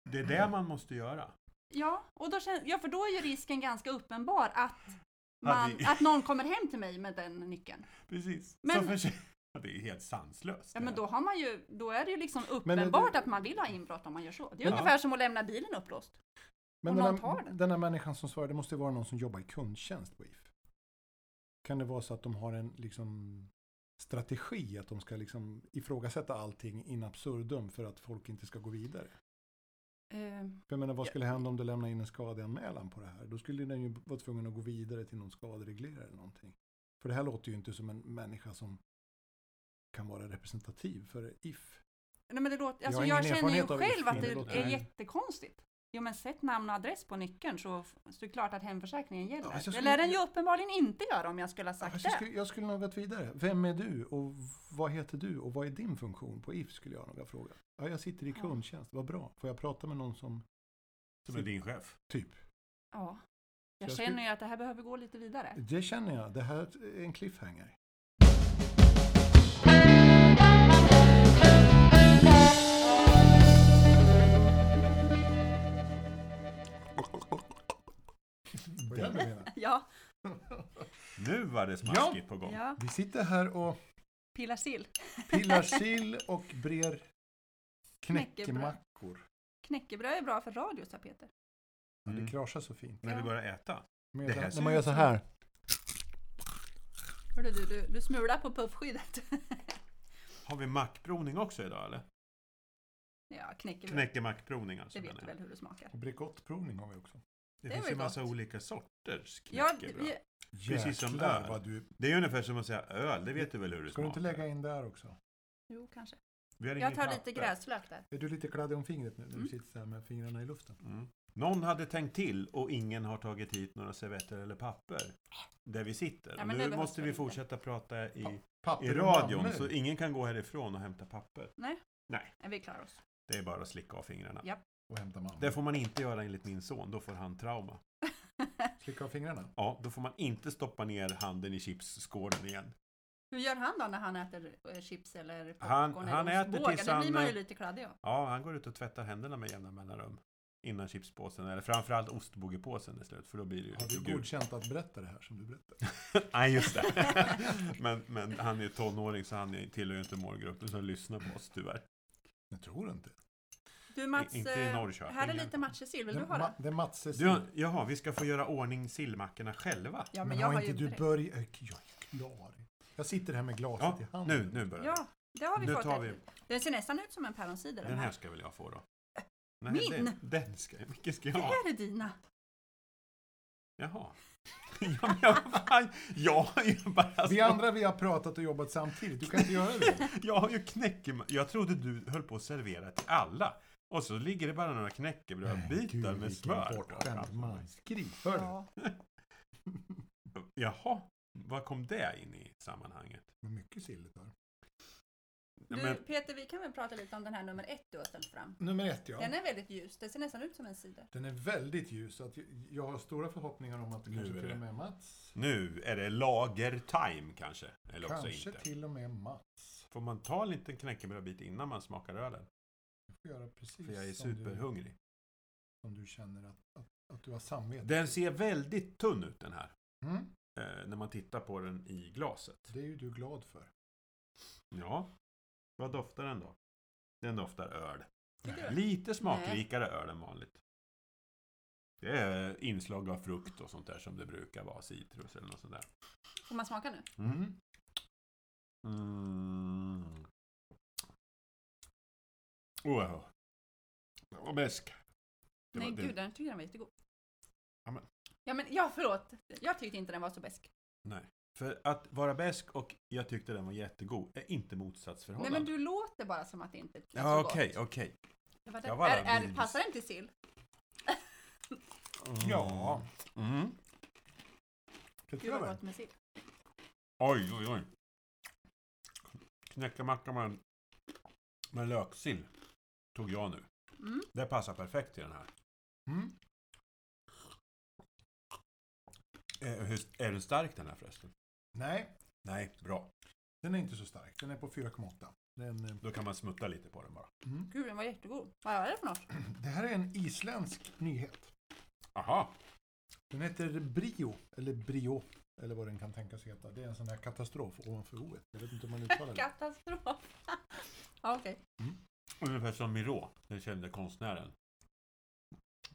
[SPEAKER 1] det är det man måste göra.
[SPEAKER 2] Ja, och då känns, ja, för då är ju risken ganska uppenbar att,
[SPEAKER 1] Hade
[SPEAKER 2] man,
[SPEAKER 1] vi-
[SPEAKER 2] att någon kommer hem till mig med den nyckeln.
[SPEAKER 1] Precis.
[SPEAKER 2] Men-
[SPEAKER 1] Så försä- Ja, det är ju helt sanslöst.
[SPEAKER 2] Ja,
[SPEAKER 1] det
[SPEAKER 2] men
[SPEAKER 1] här.
[SPEAKER 2] då, har man ju, då är det ju liksom
[SPEAKER 3] Men-
[SPEAKER 2] uppenbart att man vill ha inbrott om man gör så. Det är
[SPEAKER 1] Ja.
[SPEAKER 2] ungefär som att lämna bilen upplåst.
[SPEAKER 3] Men
[SPEAKER 2] Om
[SPEAKER 3] den
[SPEAKER 2] någon tar
[SPEAKER 3] här,
[SPEAKER 2] den.
[SPEAKER 3] den här människan som svarar, det måste ju vara någon som jobbar i kundtjänst på If. Kan det vara så att de har en liksom strategi att de ska liksom ifrågasätta allting in absurdum för att folk inte ska gå vidare.
[SPEAKER 2] Eh,
[SPEAKER 3] För jag menar, vad skulle hända om du lämnade in en skadeanmälan på det här? Då skulle den ju vara tvungen att gå vidare till någon skadereglerare eller någonting. För det här låter ju inte som en människa som kan vara representativ för IF.
[SPEAKER 2] nej men det låter,
[SPEAKER 3] Jag har
[SPEAKER 2] alltså
[SPEAKER 3] ingen
[SPEAKER 2] jag, känner ju
[SPEAKER 3] erfarenhet av
[SPEAKER 2] själv
[SPEAKER 3] det,
[SPEAKER 2] att
[SPEAKER 3] men
[SPEAKER 2] det
[SPEAKER 3] det låter-
[SPEAKER 2] är
[SPEAKER 3] Nej.
[SPEAKER 2] jättekonstigt. Jo men sätt namn och adress på nyckeln så, f- så är det klart att hemförsäkringen gäller.
[SPEAKER 3] Ja, alltså jag
[SPEAKER 2] Det
[SPEAKER 3] skulle-
[SPEAKER 2] lär den ju uppenbarligen inte göra om jag skulle ha sagt
[SPEAKER 3] Alltså, Jag
[SPEAKER 2] det.
[SPEAKER 3] skulle, jag skulle nog gått vidare. Vem är du och vad heter du och vad är din funktion på IF skulle jag nog ha frågat. Ja, jag sitter i
[SPEAKER 2] Ja.
[SPEAKER 3] kundtjänst, vad bra. Får jag prata med någon som
[SPEAKER 1] Som är din chef.
[SPEAKER 3] typ?
[SPEAKER 2] Ja. Jag
[SPEAKER 3] Jag skulle- Mm.
[SPEAKER 2] känner ju att det här behöver gå lite vidare.
[SPEAKER 3] Det känner jag, det här är en cliffhanger. Vad gör du, Lena?
[SPEAKER 2] Ja,
[SPEAKER 1] Nu var det smaskigt på gång.
[SPEAKER 2] ja.
[SPEAKER 3] Vi sitter här och
[SPEAKER 2] pillar sill.
[SPEAKER 3] pillar sill och brer
[SPEAKER 2] Knäckebröd.
[SPEAKER 3] knäckemackor.
[SPEAKER 2] Knäckebröd är bra för radio, sa Peter.
[SPEAKER 3] Ja,
[SPEAKER 1] Mm.
[SPEAKER 3] det kraschar så fint.
[SPEAKER 1] När vi börjar äta.
[SPEAKER 3] Men
[SPEAKER 1] Det här
[SPEAKER 3] när
[SPEAKER 1] ser
[SPEAKER 3] man
[SPEAKER 1] ut
[SPEAKER 3] gör så
[SPEAKER 1] som-
[SPEAKER 3] här.
[SPEAKER 2] Hörde du, du, du smular på puffskyddet.
[SPEAKER 1] Har vi mackprovning också idag eller?
[SPEAKER 2] ja, knäckebröd.
[SPEAKER 1] Knäckemackprovning alltså.
[SPEAKER 2] det vet
[SPEAKER 1] menar
[SPEAKER 2] du
[SPEAKER 1] jag.
[SPEAKER 2] väl hur det smakar.
[SPEAKER 3] Och Bregottprovning har vi också.
[SPEAKER 1] Det,
[SPEAKER 2] Det är
[SPEAKER 1] finns
[SPEAKER 2] väl
[SPEAKER 1] ju massa
[SPEAKER 2] gott.
[SPEAKER 1] olika sorters
[SPEAKER 2] Ja,
[SPEAKER 1] knäckebröd.
[SPEAKER 2] vi-
[SPEAKER 1] Precis som
[SPEAKER 3] Jäklar,
[SPEAKER 1] öl.
[SPEAKER 3] vad du...
[SPEAKER 1] Det är ungefär som att säga öl, det vet du väl hur det
[SPEAKER 3] Ska du
[SPEAKER 1] smakar?
[SPEAKER 3] inte lägga in där också?
[SPEAKER 2] jo, kanske.
[SPEAKER 1] Vi har
[SPEAKER 2] Jag
[SPEAKER 1] ingen
[SPEAKER 2] tar lite
[SPEAKER 1] papper.
[SPEAKER 2] gräslök där.
[SPEAKER 3] Är du lite kladdig om fingret nu när
[SPEAKER 2] Mm.
[SPEAKER 3] du sitter så här med fingrarna i luften?
[SPEAKER 1] Mm. Någon hade tänkt till och ingen har tagit hit några servetter eller papper där vi sitter.
[SPEAKER 2] Ja, men det
[SPEAKER 1] nu
[SPEAKER 2] behövs
[SPEAKER 1] måste vi
[SPEAKER 2] väl
[SPEAKER 1] fortsätta prata i,
[SPEAKER 3] Papper
[SPEAKER 1] i
[SPEAKER 3] och
[SPEAKER 1] radion
[SPEAKER 3] mammor.
[SPEAKER 1] så ingen kan gå härifrån och hämta papper.
[SPEAKER 2] Nej, vi klarar oss.
[SPEAKER 1] Det är bara att slicka av fingrarna.
[SPEAKER 2] Ja.
[SPEAKER 3] Och hämta mammor.
[SPEAKER 1] Det får man inte göra enligt min son, då får han trauma.
[SPEAKER 3] Slicka av fingrarna.
[SPEAKER 1] Ja, då får man inte stoppa ner handen i chipsskålen igen.
[SPEAKER 2] Hur gör han då när han äter eh, chips eller popcorn
[SPEAKER 1] Han-
[SPEAKER 2] eller
[SPEAKER 1] han äter
[SPEAKER 2] ostbågar?
[SPEAKER 1] tills
[SPEAKER 2] Det blir man ju
[SPEAKER 3] eh,
[SPEAKER 1] han,
[SPEAKER 2] lite kladdig av.
[SPEAKER 1] Ja, han går ut och tvättar händerna med jämna mellanrum. Innan chipspåsen, eller framförallt ostbågepåsen är slut, för då blir det ju
[SPEAKER 3] Har
[SPEAKER 1] lite
[SPEAKER 3] du godkänt att berätta det här som du berättar?
[SPEAKER 1] Nej, just det. men, men han är ju tonåring så han är- tillhör ju inte målgruppen som lyssnar på oss tyvärr.
[SPEAKER 3] Jag tror inte.
[SPEAKER 2] Du Mats,
[SPEAKER 1] inte i
[SPEAKER 2] eh,
[SPEAKER 1] Norrköping,
[SPEAKER 2] här är
[SPEAKER 1] men-
[SPEAKER 2] lite matjessill. Vill
[SPEAKER 3] det,
[SPEAKER 2] du ha
[SPEAKER 3] ma-
[SPEAKER 2] det?
[SPEAKER 3] det är Matses...
[SPEAKER 1] Du, jaha, vi ska få göra ordning sillmackorna själva.
[SPEAKER 2] Ja,
[SPEAKER 3] men, har inte du
[SPEAKER 2] berett.
[SPEAKER 3] börjat? Jag är klar. Jag sitter här med glaset
[SPEAKER 1] Ja,
[SPEAKER 3] i handen.
[SPEAKER 1] nu, nu börjar vi.
[SPEAKER 2] Ja, det har vi
[SPEAKER 1] Nu
[SPEAKER 2] fått.
[SPEAKER 1] tar
[SPEAKER 2] rätt
[SPEAKER 1] vi-
[SPEAKER 2] ut. Den ser nästan ut som en päronsider.
[SPEAKER 1] Den här ska väl jag få då? Nej,
[SPEAKER 2] Min!
[SPEAKER 1] Den, den ska, vilken ska jag
[SPEAKER 2] Det
[SPEAKER 1] ha?
[SPEAKER 2] här är dina.
[SPEAKER 1] Jaha. Ja, men jag, fan, jag har ju bara...
[SPEAKER 3] Vi andra vi har pratat och jobbat samtidigt. Du kan inte göra det.
[SPEAKER 1] Jag har ju knäckema... Jag trodde du höll på att servera till alla. Och så ligger det bara några knäckebrödbitar med smör.
[SPEAKER 3] bortskämd man. Skrik. Hör du?
[SPEAKER 2] Ja.
[SPEAKER 1] Jaha, vad kom det in i sammanhanget?
[SPEAKER 3] Vad mycket sill det tar.
[SPEAKER 1] Ja,
[SPEAKER 2] Du,
[SPEAKER 1] men-
[SPEAKER 2] Peter, vi kan väl prata lite om den här nummer ett du har ställt fram.
[SPEAKER 3] Nummer ett ja.
[SPEAKER 2] Den är väldigt ljus. Den ser nästan ut som en cider.
[SPEAKER 3] Den är väldigt ljus. Så att jag, jag har stora förhoppningar om att det
[SPEAKER 1] Nu
[SPEAKER 3] kanske
[SPEAKER 1] är
[SPEAKER 3] till
[SPEAKER 1] det.
[SPEAKER 3] och med Mats.
[SPEAKER 1] Nu är det lager-time kanske. Eller också
[SPEAKER 3] Kanske
[SPEAKER 1] inte.
[SPEAKER 3] till och med Mats.
[SPEAKER 1] Får man ta en liten knäckebrödbit innan man smakar ölen?
[SPEAKER 3] Du får göra precis
[SPEAKER 1] För jag är
[SPEAKER 3] som, du,
[SPEAKER 1] superhungrig.
[SPEAKER 3] som du känner att, att, att du har samvete.
[SPEAKER 1] Den ser väldigt tunn ut den här.
[SPEAKER 3] Mm,
[SPEAKER 1] Eh, när man tittar på den i glaset.
[SPEAKER 3] det är ju du glad för.
[SPEAKER 1] Mm. Ja. Vad doftar den då? Den doftar öl.
[SPEAKER 2] Tycker du?
[SPEAKER 1] Lite smakrikare öl än vanligt. Det är inslag av frukt och sånt där som det brukar vara. Citrus eller något sånt där.
[SPEAKER 2] Får man smaka nu?
[SPEAKER 1] Mm. Mm. Wow. Den var besk. Det var-
[SPEAKER 2] Nej,
[SPEAKER 1] det-
[SPEAKER 2] gud, den tycker den var jättegod.
[SPEAKER 1] Ja, men-
[SPEAKER 2] Ja, men ja, förlåt. Jag tyckte inte den var så besk.
[SPEAKER 1] För att vara besk och jag tyckte den var jättegod är inte
[SPEAKER 2] Nej,
[SPEAKER 1] motsatsförhållande.
[SPEAKER 2] men du låter bara som att det inte är
[SPEAKER 1] Ja,
[SPEAKER 2] så gott.
[SPEAKER 1] okej, okej.
[SPEAKER 2] Det var det.
[SPEAKER 1] Jag var där
[SPEAKER 2] är, är,
[SPEAKER 1] vid-
[SPEAKER 2] passar den till sill?
[SPEAKER 3] Ja.
[SPEAKER 1] Mm.
[SPEAKER 3] Det
[SPEAKER 2] Gud
[SPEAKER 3] tror
[SPEAKER 2] vad
[SPEAKER 3] jag väl.
[SPEAKER 2] gott med sill.
[SPEAKER 1] Oj, oj, oj. Knäckemacka med, med löksill tog jag nu.
[SPEAKER 2] Mm.
[SPEAKER 1] Det passar perfekt till den här.
[SPEAKER 3] Mm.
[SPEAKER 1] Eh, hur- Är den stark den här förresten?
[SPEAKER 3] Nej,
[SPEAKER 1] Nej, bra.
[SPEAKER 3] den är inte så stark. Den är på 4,8. Den, eh,
[SPEAKER 1] Då kan man smutta lite på den bara.
[SPEAKER 3] mm.
[SPEAKER 2] Gud, den var jättegod. Vad är det för något?
[SPEAKER 3] Det här är en isländsk nyhet.
[SPEAKER 1] Aha.
[SPEAKER 3] Den heter Brio, eller Brio, eller vad den kan tänkas heta. Det är en sån här katastrof ovanför oet. Jag vet inte hur man uttalar det.
[SPEAKER 2] Katastrof. ja, okej.
[SPEAKER 1] Ungefär som Miró, den kände konstnären.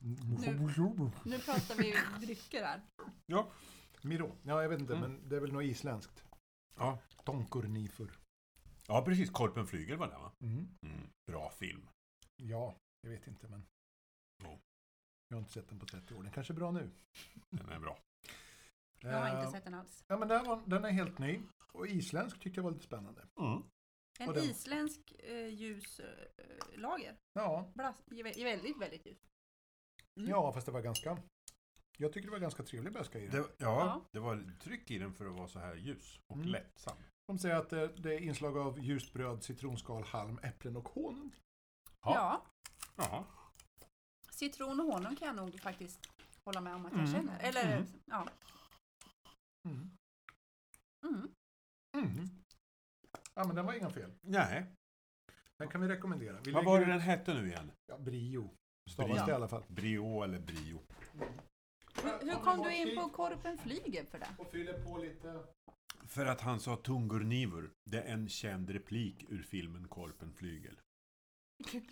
[SPEAKER 3] Mm.
[SPEAKER 2] Nu pratar vi drycker här.
[SPEAKER 3] Miro. Ja, jag vet inte,
[SPEAKER 1] Mm.
[SPEAKER 3] men det är väl något isländskt.
[SPEAKER 1] Ja.
[SPEAKER 3] Tonkor Nifur.
[SPEAKER 1] ja, precis. Korpen flyger var det va?
[SPEAKER 3] Mm.
[SPEAKER 1] Mm. Bra film.
[SPEAKER 3] Ja, jag vet inte men.
[SPEAKER 1] Jo.
[SPEAKER 3] Jag har inte sett den på 30 år. Den kanske är bra nu.
[SPEAKER 1] Den är bra.
[SPEAKER 2] Jag har
[SPEAKER 3] Eh,
[SPEAKER 2] inte sett den alls.
[SPEAKER 3] Ja, men den, var, den är helt ny. Och isländsk tyckte jag var lite spännande.
[SPEAKER 1] Mm.
[SPEAKER 2] En
[SPEAKER 3] och den-
[SPEAKER 2] isländsk eh, ljus eh, lager.
[SPEAKER 3] Ja,
[SPEAKER 2] Blas, i vä- i väldigt, väldigt ljus. Mm.
[SPEAKER 3] ja fast det var ganska... Jag tyckte det var ganska trevlig bäska i den.
[SPEAKER 1] Det, ja,
[SPEAKER 2] Ja.
[SPEAKER 1] det var tryck i den för att vara så här ljus och
[SPEAKER 3] Mm.
[SPEAKER 1] lättsam.
[SPEAKER 3] De säger att det, det är inslag av ljust bröd, citronskal, halm, äpplen och honung.
[SPEAKER 1] Ja.
[SPEAKER 2] Ja.
[SPEAKER 1] Jaha.
[SPEAKER 2] Citron och honung kan jag nog faktiskt hålla med om att jag
[SPEAKER 1] Mm.
[SPEAKER 2] känner. Eller,
[SPEAKER 1] Mm.
[SPEAKER 2] ja.
[SPEAKER 3] Mm.
[SPEAKER 2] Mm.
[SPEAKER 3] Mm. Ja, men den var inga fel.
[SPEAKER 1] Nej.
[SPEAKER 3] Den kan vi rekommendera. Vi lägger
[SPEAKER 1] Vad var det
[SPEAKER 3] ut-
[SPEAKER 1] den hette nu igen?
[SPEAKER 3] Ja, brio. Stavas
[SPEAKER 1] Brio.
[SPEAKER 3] det i alla fall.
[SPEAKER 1] Brio eller Brio?
[SPEAKER 2] Hur, hur kom du in på korpen flyger för det?
[SPEAKER 3] Och fyller på lite...
[SPEAKER 1] För att han sa tungurnivor. Det är en känd replik ur filmen Korpen flygel.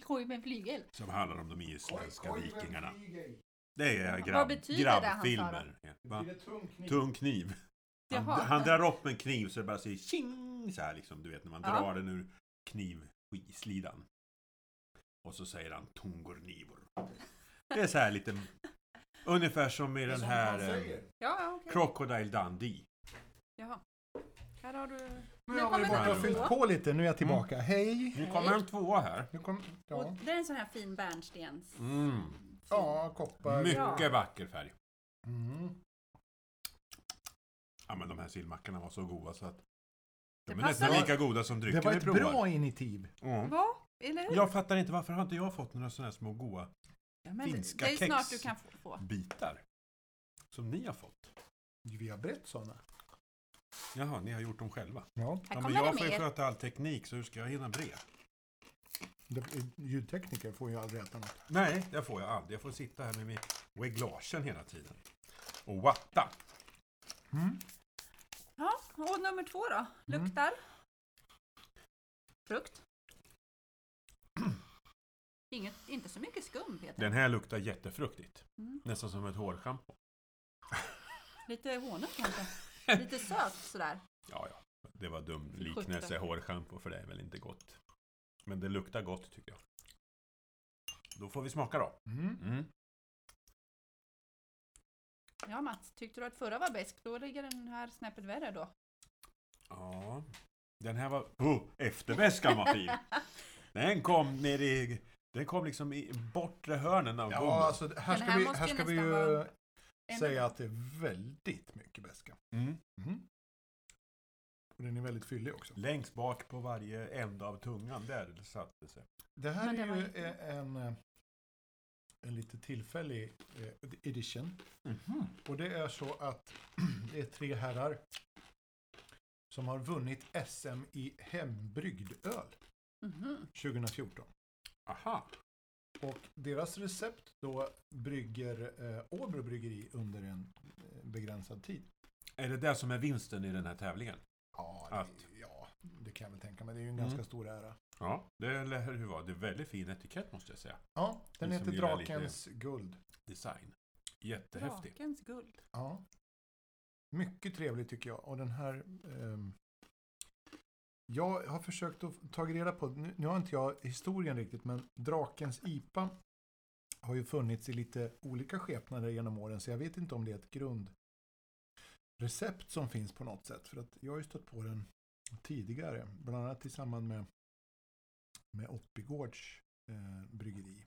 [SPEAKER 2] Korpen flygel?
[SPEAKER 1] Som handlar om de isländska
[SPEAKER 3] Oj, oj, men
[SPEAKER 1] vikingarna.
[SPEAKER 3] flyger.
[SPEAKER 1] Det är grabb,
[SPEAKER 2] Vad betyder det han sa då?
[SPEAKER 1] grabbfilmer. Ja,
[SPEAKER 3] Det
[SPEAKER 1] va?
[SPEAKER 3] blir en tung kniv.
[SPEAKER 1] Tung kniv. Han,
[SPEAKER 2] Jaha.
[SPEAKER 1] han drar upp en kniv så det bara säger tjing! Så här liksom, du vet när man
[SPEAKER 2] Ja.
[SPEAKER 1] drar den ur knivslidan. Och så säger han tungurnivor. Det är så här lite... Ungefär som i
[SPEAKER 3] Det är
[SPEAKER 1] den
[SPEAKER 3] som
[SPEAKER 1] här...
[SPEAKER 3] man säger.
[SPEAKER 1] eh,
[SPEAKER 2] Ja, ja, okej.
[SPEAKER 1] Crocodile Dundee.
[SPEAKER 2] Jaha. Här har du...
[SPEAKER 3] Nu har jag varit
[SPEAKER 1] kommer
[SPEAKER 3] borta och
[SPEAKER 1] den
[SPEAKER 3] fyllt
[SPEAKER 2] två.
[SPEAKER 3] på lite. Nu är jag tillbaka. Hej!
[SPEAKER 1] Nu kommer en tvåa här.
[SPEAKER 3] Nu kom,
[SPEAKER 2] Och
[SPEAKER 3] ja.
[SPEAKER 2] det är en sån här fin bärnstens...
[SPEAKER 1] Mm.
[SPEAKER 3] ja, koppar.
[SPEAKER 1] Mycket vacker färg.
[SPEAKER 3] Mm.
[SPEAKER 1] Ja men de här sillmackorna var så goda så att
[SPEAKER 2] Det
[SPEAKER 1] de är
[SPEAKER 2] passar
[SPEAKER 1] nästan
[SPEAKER 2] dig.
[SPEAKER 1] lika goda som
[SPEAKER 3] Det var
[SPEAKER 1] drycken vi
[SPEAKER 3] ett
[SPEAKER 1] provar.
[SPEAKER 3] bra initiativ.
[SPEAKER 1] Mm.
[SPEAKER 2] Va? Eller hur?
[SPEAKER 1] Jag fattar inte varför har inte jag fått några sådana här små goda
[SPEAKER 2] Ja, men det,
[SPEAKER 1] finska
[SPEAKER 2] det är
[SPEAKER 1] kex.
[SPEAKER 2] snart du kan få. få.
[SPEAKER 1] bitar? Som ni har fått?
[SPEAKER 3] Vi har brett sådana.
[SPEAKER 1] Jaha, ni har gjort dem själva.
[SPEAKER 3] Ja,
[SPEAKER 2] Här
[SPEAKER 1] Ja, men
[SPEAKER 2] kommer
[SPEAKER 1] jag
[SPEAKER 2] det
[SPEAKER 1] får ju
[SPEAKER 2] mer.
[SPEAKER 1] sköta all teknik så hur ska jag hinna bre?
[SPEAKER 3] det- ljudtekniker får ju aldrig äta något.
[SPEAKER 1] Nej, det får jag aldrig. Jag får sitta här med min reglagen hela tiden. Och watta.
[SPEAKER 2] Ja, och nummer två då. Luktar. Frukt. Inget, inte så mycket skum Peter.
[SPEAKER 1] Den här luktar jättefruktigt.
[SPEAKER 2] Mm.
[SPEAKER 1] Nästan som ett hårschampo.
[SPEAKER 2] Lite honung kanske. Lite söt sådär.
[SPEAKER 1] Ja, ja. Det var dum liknelse, hårschampo, för det är väl inte gott. Men det luktar gott tycker jag. Då får vi smaka då.
[SPEAKER 3] Mm.
[SPEAKER 1] Mm.
[SPEAKER 2] Ja Mats, tyckte du att förra var bäst? Då ligger den här snäppet värre då.
[SPEAKER 1] Ja. Den här var... Oh, efterväskan var fin! Den kom ner i... Den kom liksom i bortre hörnen av gommen.
[SPEAKER 3] Ja, alltså här
[SPEAKER 2] Den
[SPEAKER 3] ska
[SPEAKER 2] här
[SPEAKER 3] vi,
[SPEAKER 2] måste
[SPEAKER 3] här
[SPEAKER 2] ju
[SPEAKER 3] ska vi
[SPEAKER 2] nästan
[SPEAKER 3] ju
[SPEAKER 2] vara
[SPEAKER 3] eh,
[SPEAKER 2] En-
[SPEAKER 3] säga att det är väldigt mycket beska.
[SPEAKER 1] Mm.
[SPEAKER 3] Mm. Och den är väldigt fyllig också.
[SPEAKER 1] Längst bak på varje ände av tungan, där satte det sig.
[SPEAKER 3] Det här
[SPEAKER 2] Men
[SPEAKER 3] är
[SPEAKER 2] den var
[SPEAKER 3] ju
[SPEAKER 2] inte-
[SPEAKER 3] eh, en, eh, en lite tillfällig eh, edition.
[SPEAKER 1] Mhm.
[SPEAKER 3] Och det är så att det är tre herrar som har vunnit SM i hembryggd öl
[SPEAKER 2] Mhm.
[SPEAKER 3] 2014.
[SPEAKER 1] Aha!
[SPEAKER 3] Och deras recept då brygger eh, Åbro bryggeri under en eh, begränsad tid.
[SPEAKER 1] Är det det som är vinsten i den här tävlingen?
[SPEAKER 3] Ja,
[SPEAKER 1] Att-
[SPEAKER 3] det, ja, det kan jag väl tänka mig. Det är ju en
[SPEAKER 1] Mm.
[SPEAKER 3] ganska stor ära.
[SPEAKER 1] Ja, det lär hur vara. Det är väldigt fin etikett måste jag säga.
[SPEAKER 3] Ja, den
[SPEAKER 1] Ni som
[SPEAKER 3] heter
[SPEAKER 1] gillar lite-
[SPEAKER 3] Drakens guld.
[SPEAKER 1] Design. Jättehäftig.
[SPEAKER 2] Drakens guld.
[SPEAKER 3] Ja. Mycket trevligt tycker jag. Och den här... ehm, jag har försökt att ta reda på, nu, nu har inte jag historien riktigt, men Drakens IPA har ju funnits i lite olika skepnader genom åren, så jag vet inte om det är ett grundrecept som finns på något sätt. För att jag har ju stött på den tidigare, bland annat i samband med, med Oppigårds eh, bryggeri.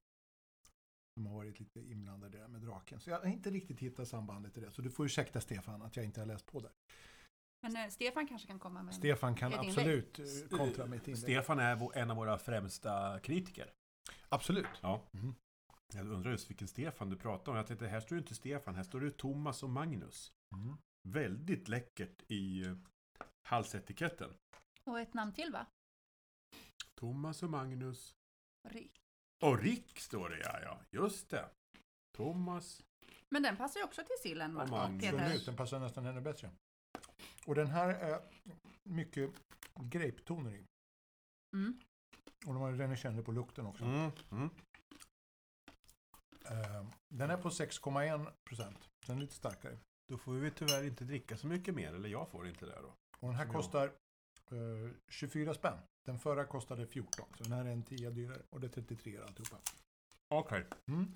[SPEAKER 3] De har varit lite inblandade där med draken. Så jag har inte riktigt hittat sambandet i det. Så du får ursäkta Stefan att jag inte har läst på där.
[SPEAKER 2] Men eh, Stefan kanske kan komma med en-
[SPEAKER 3] Stefan kan
[SPEAKER 2] Mm. Ett inlägg.
[SPEAKER 3] absolut eh, kontra mitt inlägg.
[SPEAKER 1] Stefan är vår- en av våra främsta kritiker.
[SPEAKER 3] absolut.
[SPEAKER 1] Ja.
[SPEAKER 3] Mhm.
[SPEAKER 1] Jag undrar just vilken Stefan du pratar om. Jag tänkte, här står ju inte Stefan, här står det Thomas och Magnus.
[SPEAKER 3] Mm.
[SPEAKER 1] Väldigt läckert i eh, halsetiketten.
[SPEAKER 2] Och ett namn till va?
[SPEAKER 1] Thomas och Magnus.
[SPEAKER 2] Rick.
[SPEAKER 1] Och Rick står det, ja, ja. Just det. Thomas.
[SPEAKER 2] Men den passar ju också till sillen
[SPEAKER 1] Och
[SPEAKER 2] va?
[SPEAKER 1] man-
[SPEAKER 2] Peter.
[SPEAKER 3] Absolut, den passar nästan ännu bättre. Och den här är mycket grapetoner i.
[SPEAKER 2] Mm.
[SPEAKER 3] Och de har ju redan känt på lukten också.
[SPEAKER 1] Mm. Mm.
[SPEAKER 3] Eh, Den är på 6,1 procent. Den är lite starkare.
[SPEAKER 1] Då får vi tyvärr inte dricka så mycket mer, eller jag får inte det då.
[SPEAKER 3] Och den här
[SPEAKER 1] Ja.
[SPEAKER 3] kostar eh, 24 spänn. Den förra kostade 14, så den här är en 10 dyrare. Och det är 33 alltihopa.
[SPEAKER 1] Okej.
[SPEAKER 3] Mm.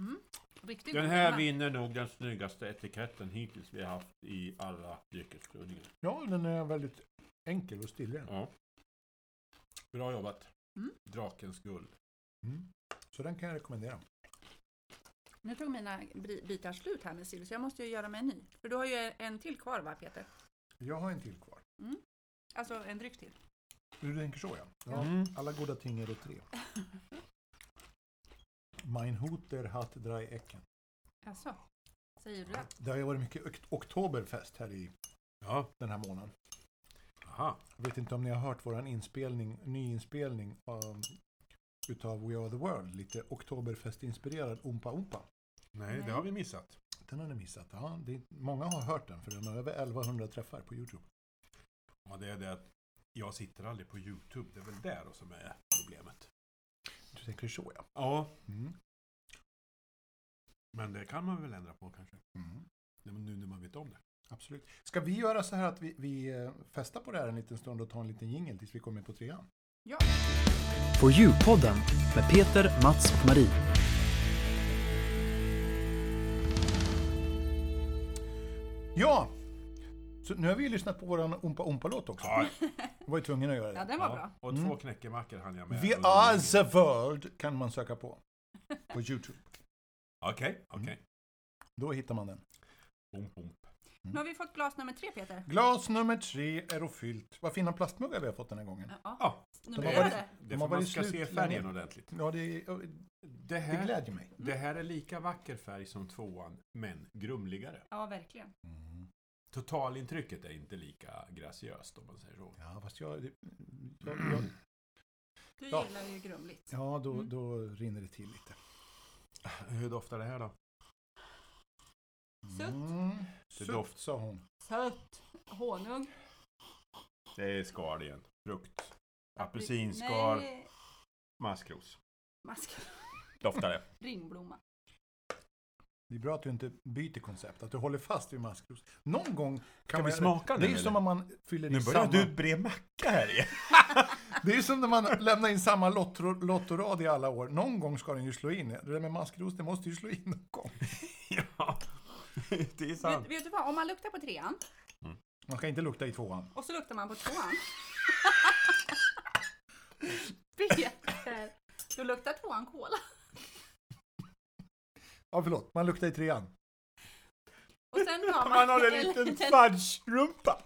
[SPEAKER 2] Mm. Riktigt
[SPEAKER 1] Den
[SPEAKER 2] god
[SPEAKER 1] här
[SPEAKER 2] gumma.
[SPEAKER 1] vinner nog den snyggaste etiketten hittills vi har haft i alla dryckesprovningar.
[SPEAKER 3] Ja, den är väldigt enkel och stillig.
[SPEAKER 1] Ja. Bra jobbat.
[SPEAKER 2] Mm.
[SPEAKER 1] Drakens guld.
[SPEAKER 3] Mm. Så den kan jag rekommendera.
[SPEAKER 2] Nu tog mina bri- bitar slut här med sill, så jag måste ju göra mig en ny. För du har ju en till kvar va, Peter?
[SPEAKER 3] Jag har en till kvar.
[SPEAKER 2] Alltså en dryck till.
[SPEAKER 3] Du tänker så ja. ja.
[SPEAKER 1] Mm.
[SPEAKER 3] Alla goda ting är tre. Mein Huter hat drei Ecken.
[SPEAKER 2] Alltså, säger du det?
[SPEAKER 3] Det har ju varit mycket ok- oktoberfest här i
[SPEAKER 1] Ja.
[SPEAKER 3] den här månaden.
[SPEAKER 1] Aha.
[SPEAKER 3] Jag vet inte om ni har hört våran inspelning, nyinspelning av utav We Are The World, lite oktoberfest-inspirerad Oompa Oompa.
[SPEAKER 1] Nej,
[SPEAKER 2] Nej.
[SPEAKER 1] det har vi missat.
[SPEAKER 3] Den har ni missat. Ja, det är, många har hört den, för den har över 1100 träffar på Youtube.
[SPEAKER 1] Ja, det är det att jag sitter aldrig på YouTube. Det är väl där som är problemet.
[SPEAKER 3] Du tänker så ja.
[SPEAKER 1] Ja,
[SPEAKER 3] Mm.
[SPEAKER 1] men det kan man väl ändra på kanske.
[SPEAKER 3] Mm.
[SPEAKER 1] Nej, men Nu när man vet om det.
[SPEAKER 3] Absolut. Ska vi göra så här att vi, vi eh, festar på det här en liten stund och tar en liten jingel tills vi kommer på trean?
[SPEAKER 2] Ja.
[SPEAKER 4] På Djurpodden med Peter, Mats och Marie.
[SPEAKER 3] Ja! Så nu har vi ju lyssnat på våran Oompa Oompa-låt också. Var ju tvungen att göra det.
[SPEAKER 2] Ja, den var
[SPEAKER 1] Ja,
[SPEAKER 2] bra.
[SPEAKER 1] Och
[SPEAKER 3] Mm.
[SPEAKER 1] två knäckemackor hann jag med.
[SPEAKER 3] The
[SPEAKER 1] under
[SPEAKER 3] Are
[SPEAKER 1] jingel.
[SPEAKER 3] The World kan man söka på. På Youtube.
[SPEAKER 1] Okej, okej.
[SPEAKER 3] Då hittar man den.
[SPEAKER 1] Bom, bom.
[SPEAKER 2] Nu har vi fått glas nummer tre, Peter.
[SPEAKER 3] Glas nummer tre är då fyllt. Vad fina plastmuggar vi har fått den här gången.
[SPEAKER 2] Ja.
[SPEAKER 1] Ja,
[SPEAKER 2] Nu
[SPEAKER 3] De har
[SPEAKER 2] börjar
[SPEAKER 3] varit-
[SPEAKER 2] det.
[SPEAKER 1] det
[SPEAKER 3] har
[SPEAKER 1] får man
[SPEAKER 3] varit
[SPEAKER 1] ska se
[SPEAKER 3] slut
[SPEAKER 1] färgen
[SPEAKER 3] länge. Mm.
[SPEAKER 1] ordentligt.
[SPEAKER 3] Ja, det,
[SPEAKER 1] Det
[SPEAKER 3] det
[SPEAKER 1] här,
[SPEAKER 3] glädjer mig.
[SPEAKER 1] det här är lika vacker färg som tvåan, men grumligare.
[SPEAKER 2] Ja, verkligen.
[SPEAKER 1] Mm. Totalintrycket är inte lika graciöst om man säger så.
[SPEAKER 3] Ja, fast jag... det- jag, jag
[SPEAKER 2] Du
[SPEAKER 3] Ja.
[SPEAKER 2] gillar ju grumligt.
[SPEAKER 3] ja, då,
[SPEAKER 1] Mm.
[SPEAKER 3] då rinner det till lite.
[SPEAKER 1] Hur doftar det här då?
[SPEAKER 2] Sött.
[SPEAKER 3] Mm.
[SPEAKER 1] Det
[SPEAKER 3] Sött,
[SPEAKER 1] doft-
[SPEAKER 3] sa hon.
[SPEAKER 2] Sött. Honung.
[SPEAKER 1] Det är skal igen. Frukt.
[SPEAKER 2] Nej,
[SPEAKER 1] maskros.
[SPEAKER 2] mask.
[SPEAKER 1] Doftar det.
[SPEAKER 2] Ringblomma.
[SPEAKER 3] Det är bra att du inte byter koncept, att du håller fast vid maskros. Någon gång kan
[SPEAKER 1] Kan
[SPEAKER 3] man...
[SPEAKER 1] vi smaka
[SPEAKER 3] det
[SPEAKER 1] nu
[SPEAKER 3] är ju som
[SPEAKER 1] eller?
[SPEAKER 3] om man fyller i
[SPEAKER 1] Nu börjar
[SPEAKER 3] samma...
[SPEAKER 1] du bre macka här igen.
[SPEAKER 3] Det är ju som när man lämnar in samma lottor- lottorad i alla år. Någon gång ska den ju slå in. Det där med maskros, det måste ju slå in någon gång.
[SPEAKER 1] ja, det är
[SPEAKER 2] Vet,
[SPEAKER 1] sant.
[SPEAKER 2] vet du vad, om man luktar på trean
[SPEAKER 3] Man kan inte lukta i tvåan.
[SPEAKER 2] och så luktar man på tvåan. Peter, då luktar tvåan kola.
[SPEAKER 3] Ja, förlåt. Man luktar i trean.
[SPEAKER 2] Och sen tar man,
[SPEAKER 1] Man har en liten fudge-rumpa.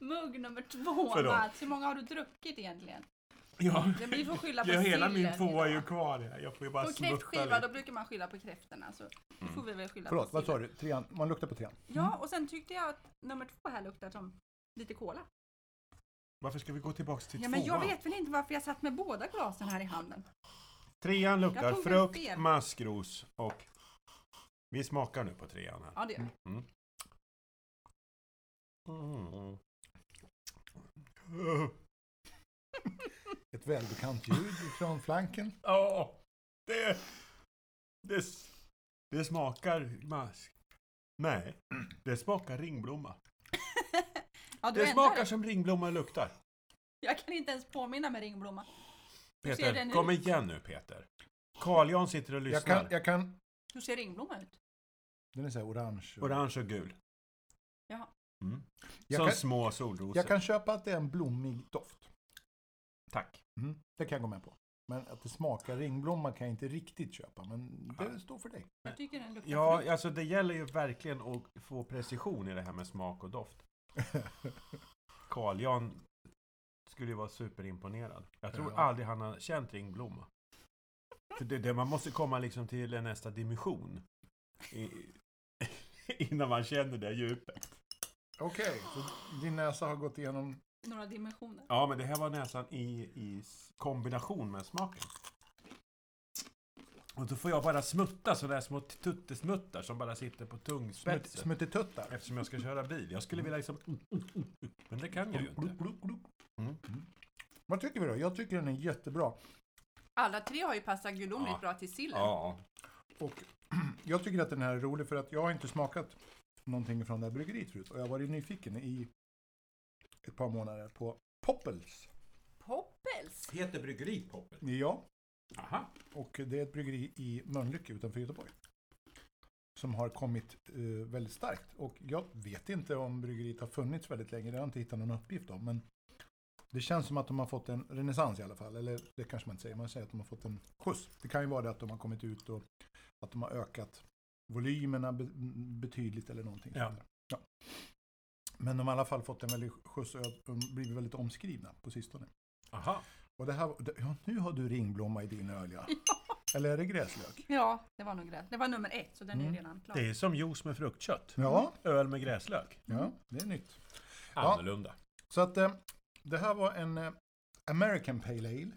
[SPEAKER 2] mugg nummer två.
[SPEAKER 1] Förlåt.
[SPEAKER 2] Mats. Hur många har du druckit egentlen?
[SPEAKER 1] Ja,
[SPEAKER 2] Ja, Vi får skylla på
[SPEAKER 1] ja, hela min
[SPEAKER 2] sillen
[SPEAKER 1] tvåa är ju
[SPEAKER 2] idag.
[SPEAKER 1] kvar här. Jag får ju bara
[SPEAKER 2] På
[SPEAKER 1] smutta
[SPEAKER 2] kräftskiva, då
[SPEAKER 1] lite.
[SPEAKER 2] brukar man skylla på kräftorna. Så då
[SPEAKER 1] Mm.
[SPEAKER 2] får vi väl skylla
[SPEAKER 3] Förlåt,
[SPEAKER 2] på
[SPEAKER 3] vad sa
[SPEAKER 2] sillen.
[SPEAKER 3] du? Trean. Man luktar på trean.
[SPEAKER 2] Ja, och sen tyckte jag att nummer två här luktar som lite kola.
[SPEAKER 1] Varför ska vi gå tillbaks till
[SPEAKER 2] Ja, men jag
[SPEAKER 1] tvåan?
[SPEAKER 2] vet väl inte varför jag satt med båda glasen här i handen.
[SPEAKER 1] Trean luktar
[SPEAKER 2] Jag tog en
[SPEAKER 1] frukt,
[SPEAKER 2] fel.
[SPEAKER 1] maskros och... Vi smakar nu på trean här.
[SPEAKER 2] Ja, det gör jag.
[SPEAKER 1] Mm.
[SPEAKER 3] Ett välbekant ljud från flanken.
[SPEAKER 1] Ja, det, det... s- Det smakar mask. Nej, det smakar ringblomma.
[SPEAKER 2] Ja, du
[SPEAKER 1] Det
[SPEAKER 2] ändrar
[SPEAKER 1] smakar
[SPEAKER 2] dig.
[SPEAKER 1] som ringblomma luktar.
[SPEAKER 2] Jag kan inte ens påminna mig ringblomma. Hur ser den
[SPEAKER 1] Peter, kom
[SPEAKER 2] ut?
[SPEAKER 1] igen nu Peter. Carl Jan sitter och
[SPEAKER 3] Jag
[SPEAKER 1] lyssnar.
[SPEAKER 3] kan, jag kan...
[SPEAKER 2] Hur ser ringblomma ut?
[SPEAKER 3] Den är så här orange.
[SPEAKER 1] Orange och gul.
[SPEAKER 2] Jaha.
[SPEAKER 1] Mm.
[SPEAKER 3] Jag
[SPEAKER 1] som
[SPEAKER 3] kan-
[SPEAKER 1] små solrosor.
[SPEAKER 3] Jag kan köpa att det är en blommig doft.
[SPEAKER 1] Tack.
[SPEAKER 3] Mm. Det kan jag gå med på. Men att det smakar ringblomma kan jag inte riktigt köpa. Men det står för dig.
[SPEAKER 2] Jag tycker den luktar frukt.
[SPEAKER 1] Ja, alltså det gäller ju verkligen att få precision i det här med smak och doft. Carl Jan skulle ju vara superimponerad. Jag tror
[SPEAKER 3] Ja.
[SPEAKER 1] aldrig han har känt ringblomma. För det, det, man måste komma liksom till nästa dimension. I, innan man känner det djupet.
[SPEAKER 3] Okej, så din näsa har gått igenom...
[SPEAKER 2] Några dimensioner.
[SPEAKER 1] Ja, men det här var nästan i, i s- kombination med smaken. Och då får jag bara smutta sådana här små tuttesmuttar som bara sitter på
[SPEAKER 3] Smutt-
[SPEAKER 1] tungspetsen.
[SPEAKER 3] Smuttetuttar.
[SPEAKER 1] Eftersom jag ska köra bil. Jag skulle vilja liksom... Men det kan jag ju inte. Mm.
[SPEAKER 3] Vad tycker vi då? Jag tycker den är jättebra.
[SPEAKER 2] Alla tre har ju passat gudomligt
[SPEAKER 1] Ja.
[SPEAKER 2] bra till sillen.
[SPEAKER 1] Ja.
[SPEAKER 3] Och jag tycker att den här är rolig för att jag har inte smakat någonting från det här bryggeriet förut. Och jag har varit nyfiken i ett par månader på Poppels.
[SPEAKER 2] Poppels!
[SPEAKER 1] Heter bryggeriet Poppel?
[SPEAKER 3] Ja,
[SPEAKER 5] Aha.
[SPEAKER 3] och det är ett bryggeri i Mölnlycke utanför Göteborg. Som har kommit eh, väldigt starkt. Och jag vet inte om bryggeriet har funnits väldigt länge, det har jag inte hittat någon uppgift om. Men det känns som att de har fått en renässans i alla fall. Eller det kanske man inte säger, man säger att de har fått en skjuts. Det kan ju vara det att de har kommit ut och att de har ökat volymerna be- betydligt eller någonting.
[SPEAKER 5] Ja.
[SPEAKER 3] sånt där. Ja. Men de har i alla fall fått en väldig skjuts och har blivit väldigt omskrivna på sistone.
[SPEAKER 5] Aha.
[SPEAKER 3] Och det här, det- ja, nu har du ringblomma i din öl ja. Eller är det gräslök?
[SPEAKER 2] Ja, det var nog det. Det var nummer ett, så den
[SPEAKER 3] Mm.
[SPEAKER 2] är redan klar.
[SPEAKER 5] Det är som juice med fruktkött.
[SPEAKER 3] Ja,
[SPEAKER 5] Öl med gräslök.
[SPEAKER 3] ja det är nytt. Ja.
[SPEAKER 1] Annorlunda.
[SPEAKER 3] Så att eh, det här var en eh, American Pale Ale.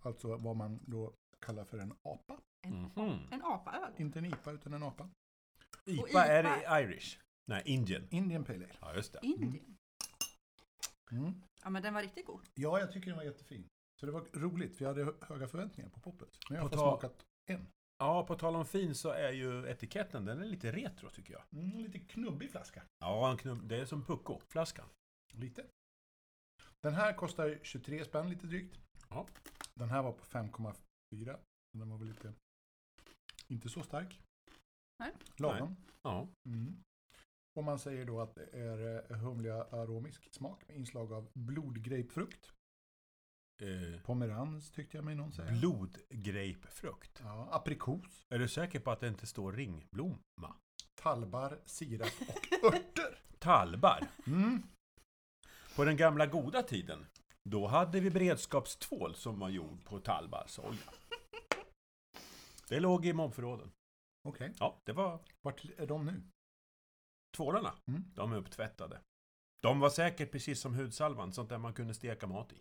[SPEAKER 3] Alltså vad man då kallar för en apa.
[SPEAKER 1] Mhm.
[SPEAKER 2] En apaöl.
[SPEAKER 3] Inte en IPA utan en apa.
[SPEAKER 2] Och
[SPEAKER 1] IPA
[SPEAKER 2] IPA.
[SPEAKER 1] är Irish. Nej, Indian.
[SPEAKER 3] Indian Pale Ale.
[SPEAKER 1] Ja, just det.
[SPEAKER 2] Indien.
[SPEAKER 3] Mm.
[SPEAKER 2] Ja, men den var riktigt god.
[SPEAKER 3] Ja, jag tycker den var jättefin. Så det var roligt, för jag hade hö- höga förväntningar på poppet. Men jag har
[SPEAKER 1] På
[SPEAKER 3] fått
[SPEAKER 1] tal-
[SPEAKER 3] smakat en.
[SPEAKER 1] Ja, på tal om fin så är ju etiketten, den är lite retro tycker jag.
[SPEAKER 3] Mm, lite knubbig flaska.
[SPEAKER 1] Ja, en knubb, det är som Pucko-flaskan.
[SPEAKER 3] Lite. Den här kostar 23 spänn lite drygt.
[SPEAKER 1] Ja.
[SPEAKER 3] Den här var på 5,4. så Den var väl lite... Inte så stark.
[SPEAKER 2] Nej.
[SPEAKER 3] Lagom.
[SPEAKER 1] Ja.
[SPEAKER 3] Mm. Och man säger då att det är eh, humliga aromisk smak med inslag av blodgrapefrukt.
[SPEAKER 1] Eh,
[SPEAKER 3] Pomerans tyckte jag mig någon säga.
[SPEAKER 1] Blodgrapefrukt.
[SPEAKER 3] Ja, aprikos,
[SPEAKER 1] Är du säker på att det inte står ringblomma?
[SPEAKER 3] talbar, sirap och örter.
[SPEAKER 1] Talbar.
[SPEAKER 3] Mm.
[SPEAKER 1] På den gamla goda tiden, då hade vi beredskapstvål som var gjord på tallbarsolja. Det låg i mobförråden.
[SPEAKER 3] Okej,
[SPEAKER 1] Ja, det var
[SPEAKER 3] vart är de nu?
[SPEAKER 1] tvålarna.
[SPEAKER 3] Mm.
[SPEAKER 1] De är upptvättade. De var säkert precis som hudsalvan, sånt där man kunde steka mat i.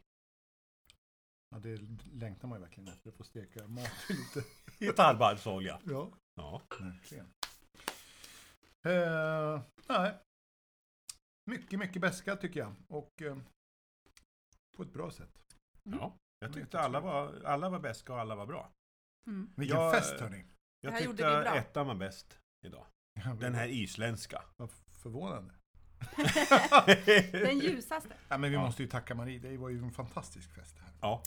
[SPEAKER 3] Ja, det längtar man ju verkligen efter, att få steka mat lite.
[SPEAKER 1] I tallbarsolja.
[SPEAKER 3] Ja,
[SPEAKER 1] Ja.
[SPEAKER 3] verkligen. Eh, nej. Mycket, mycket beska tycker jag. Och eh, på ett bra sätt. Mm.
[SPEAKER 1] ja. Jag tyckte alla var, alla var bäst och alla var bra.
[SPEAKER 2] Mm.
[SPEAKER 3] Vilken
[SPEAKER 1] Jag-
[SPEAKER 3] fest hörni!
[SPEAKER 2] Det
[SPEAKER 1] Jag
[SPEAKER 2] här
[SPEAKER 1] tyckte
[SPEAKER 2] gjorde vi bra.
[SPEAKER 1] ettan var bäst idag. Den här isländska.
[SPEAKER 3] Vad förvånande.
[SPEAKER 2] Den ljusaste.
[SPEAKER 3] Ja, men vi
[SPEAKER 1] Ja.
[SPEAKER 3] måste ju tacka Marie, det var ju en fantastisk fest det här.
[SPEAKER 1] Ja.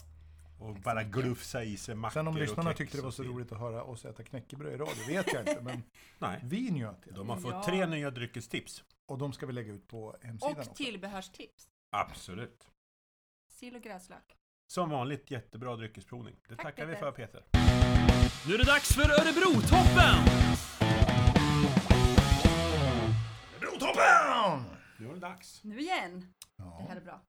[SPEAKER 1] Och bara glufsa i sig mackor
[SPEAKER 3] Sen om
[SPEAKER 1] och
[SPEAKER 3] lyssnarna
[SPEAKER 1] kex
[SPEAKER 3] tyckte det var
[SPEAKER 1] och
[SPEAKER 3] så
[SPEAKER 1] fint.
[SPEAKER 3] roligt att höra oss äta knäckebröd i radio vet jag inte, men
[SPEAKER 1] Nej.
[SPEAKER 3] vi njöt. i alla fall.
[SPEAKER 1] De har fått
[SPEAKER 2] Mm, Ja.
[SPEAKER 1] tre nya dryckestips.
[SPEAKER 3] Och de ska vi lägga ut på hemsidan
[SPEAKER 2] Och
[SPEAKER 3] också.
[SPEAKER 2] tillbehörstips.
[SPEAKER 1] Absolut.
[SPEAKER 2] Sill och gräslök.
[SPEAKER 1] Som vanligt jättebra dryckesprovning. Det
[SPEAKER 2] Tack,
[SPEAKER 1] tackar vi
[SPEAKER 2] Peter.
[SPEAKER 1] för Peter.
[SPEAKER 6] Nu är det dags för Örebro-toppen!
[SPEAKER 3] Brotoppen!
[SPEAKER 1] Nu är det dags.
[SPEAKER 2] Nu igen. Det här
[SPEAKER 3] Ja,
[SPEAKER 2] är bra.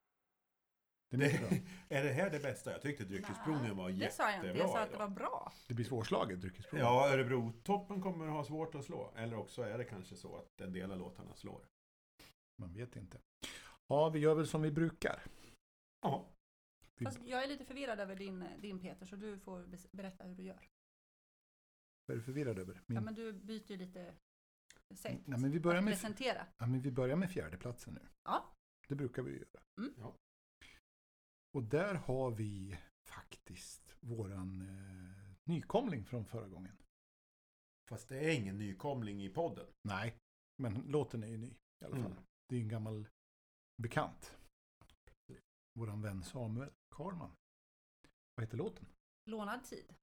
[SPEAKER 3] det är mycket bra.
[SPEAKER 1] är det här det bästa? Jag tyckte dryckesprovningen var
[SPEAKER 2] Det sa jag inte. Jag sa att det var bra.
[SPEAKER 3] Det blir svårslaget dryckesprov.
[SPEAKER 1] Ja, Örebro-toppen kommer att ha svårt att slå. Eller också är det kanske så att en del av låtarna slår.
[SPEAKER 3] Man vet inte. Ja, vi gör väl som vi brukar.
[SPEAKER 1] Ja.
[SPEAKER 3] Vi,
[SPEAKER 2] Fast jag är lite förvirrad över din, din Peter, så du får bes- berätta hur du gör.
[SPEAKER 3] vad är du förvirrad över? Min,
[SPEAKER 2] Ja, men du byter ju lite sätt.
[SPEAKER 3] Nej, Mm. men vi börjar
[SPEAKER 2] att
[SPEAKER 3] med-
[SPEAKER 2] Presentera.
[SPEAKER 3] ja, men vi börjar med fjärdeplatsen nu.
[SPEAKER 2] Ja.
[SPEAKER 3] Det brukar vi ju göra.
[SPEAKER 2] Mm.
[SPEAKER 1] Ja.
[SPEAKER 3] Och där har vi faktiskt våran eh, nykomling från förra gången.
[SPEAKER 1] Fast det är ingen nykomling i podden.
[SPEAKER 3] Nej, men låten är ju ny i alla fall.
[SPEAKER 1] Mm.
[SPEAKER 3] Det är ju en gammal bekant. Våran vän Samuel Karlman. Vad heter låten?
[SPEAKER 2] Lånad tid.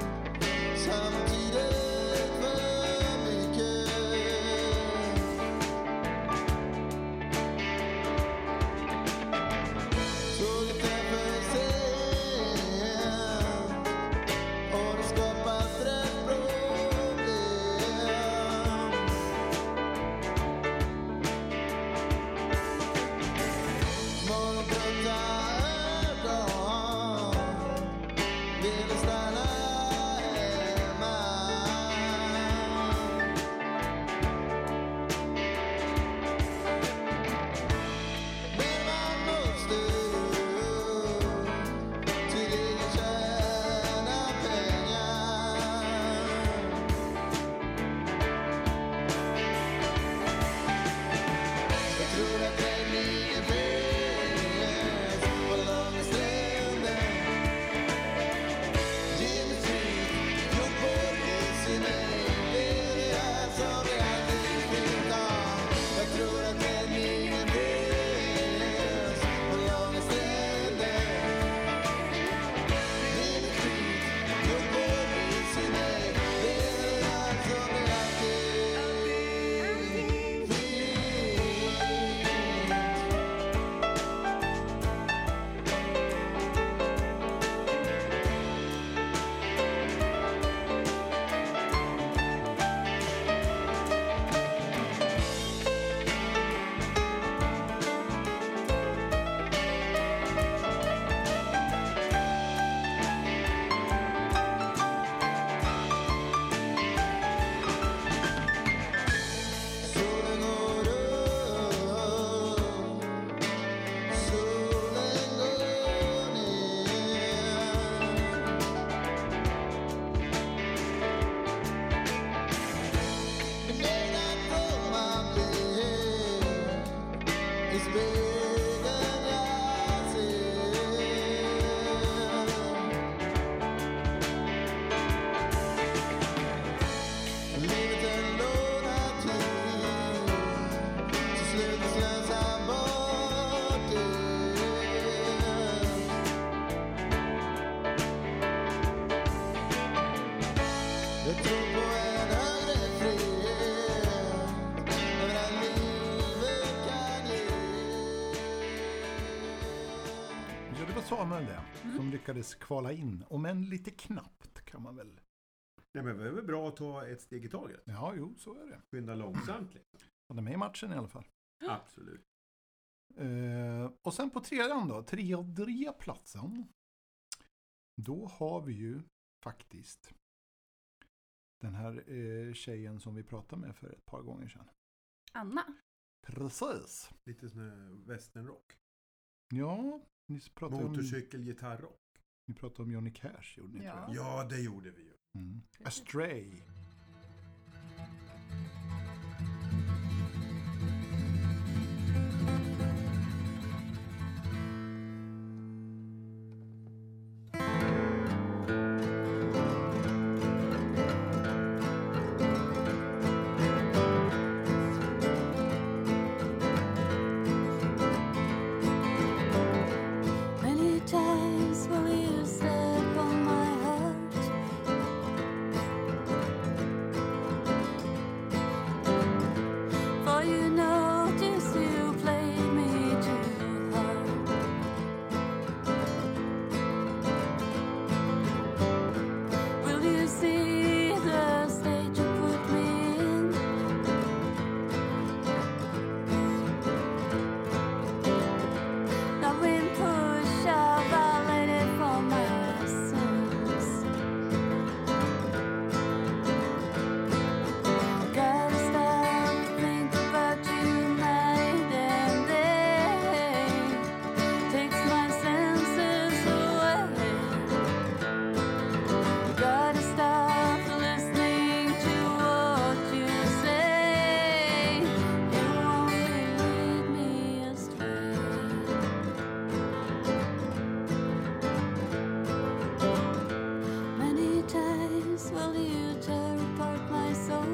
[SPEAKER 7] Jag kanske är lite
[SPEAKER 3] Ja, det var Samuel det,
[SPEAKER 2] Mm.
[SPEAKER 3] som lyckades kvala in. Om än lite knappt kan man väl...
[SPEAKER 1] Nej, men det är väl bra att ta ett steg i taget.
[SPEAKER 3] Ja, jo, så är det.
[SPEAKER 1] Skynda långsamt. Liksom.
[SPEAKER 3] Han är med i matchen i alla fall.
[SPEAKER 1] Absolut.
[SPEAKER 3] Eh, och sen på trean då, tredje platsen. Då har vi ju faktiskt den här eh, tjejen som vi pratade med för ett par gånger sedan.
[SPEAKER 2] Anna.
[SPEAKER 3] Precis.
[SPEAKER 1] Lite sån här westernrock.
[SPEAKER 3] Ja, ni pratade, om,
[SPEAKER 1] Motorcykelgitarrrock.
[SPEAKER 3] ni pratade om Johnny Cash gjorde ni
[SPEAKER 2] Ja.
[SPEAKER 3] tror jag.
[SPEAKER 1] Ja, det gjorde vi ju.
[SPEAKER 3] Mm. Astray.
[SPEAKER 8] Many times will you step on my heart? For you notice you played me too hard. Will you see the state you put me in? I've been pushed, I've violated for my sins. Gotta stop to think about you night and day. Takes my senses away. Gotta stop listening to what you say. It won't lead me astray. Many times will you tear apart my soul?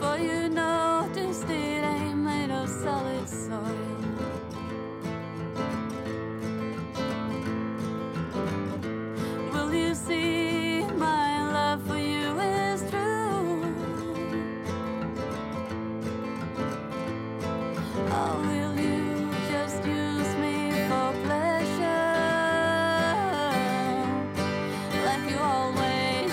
[SPEAKER 8] For you noticed it ain't made of solid soil. Will you see my love for you is true? Oh, will you just use me for pleasure, like you always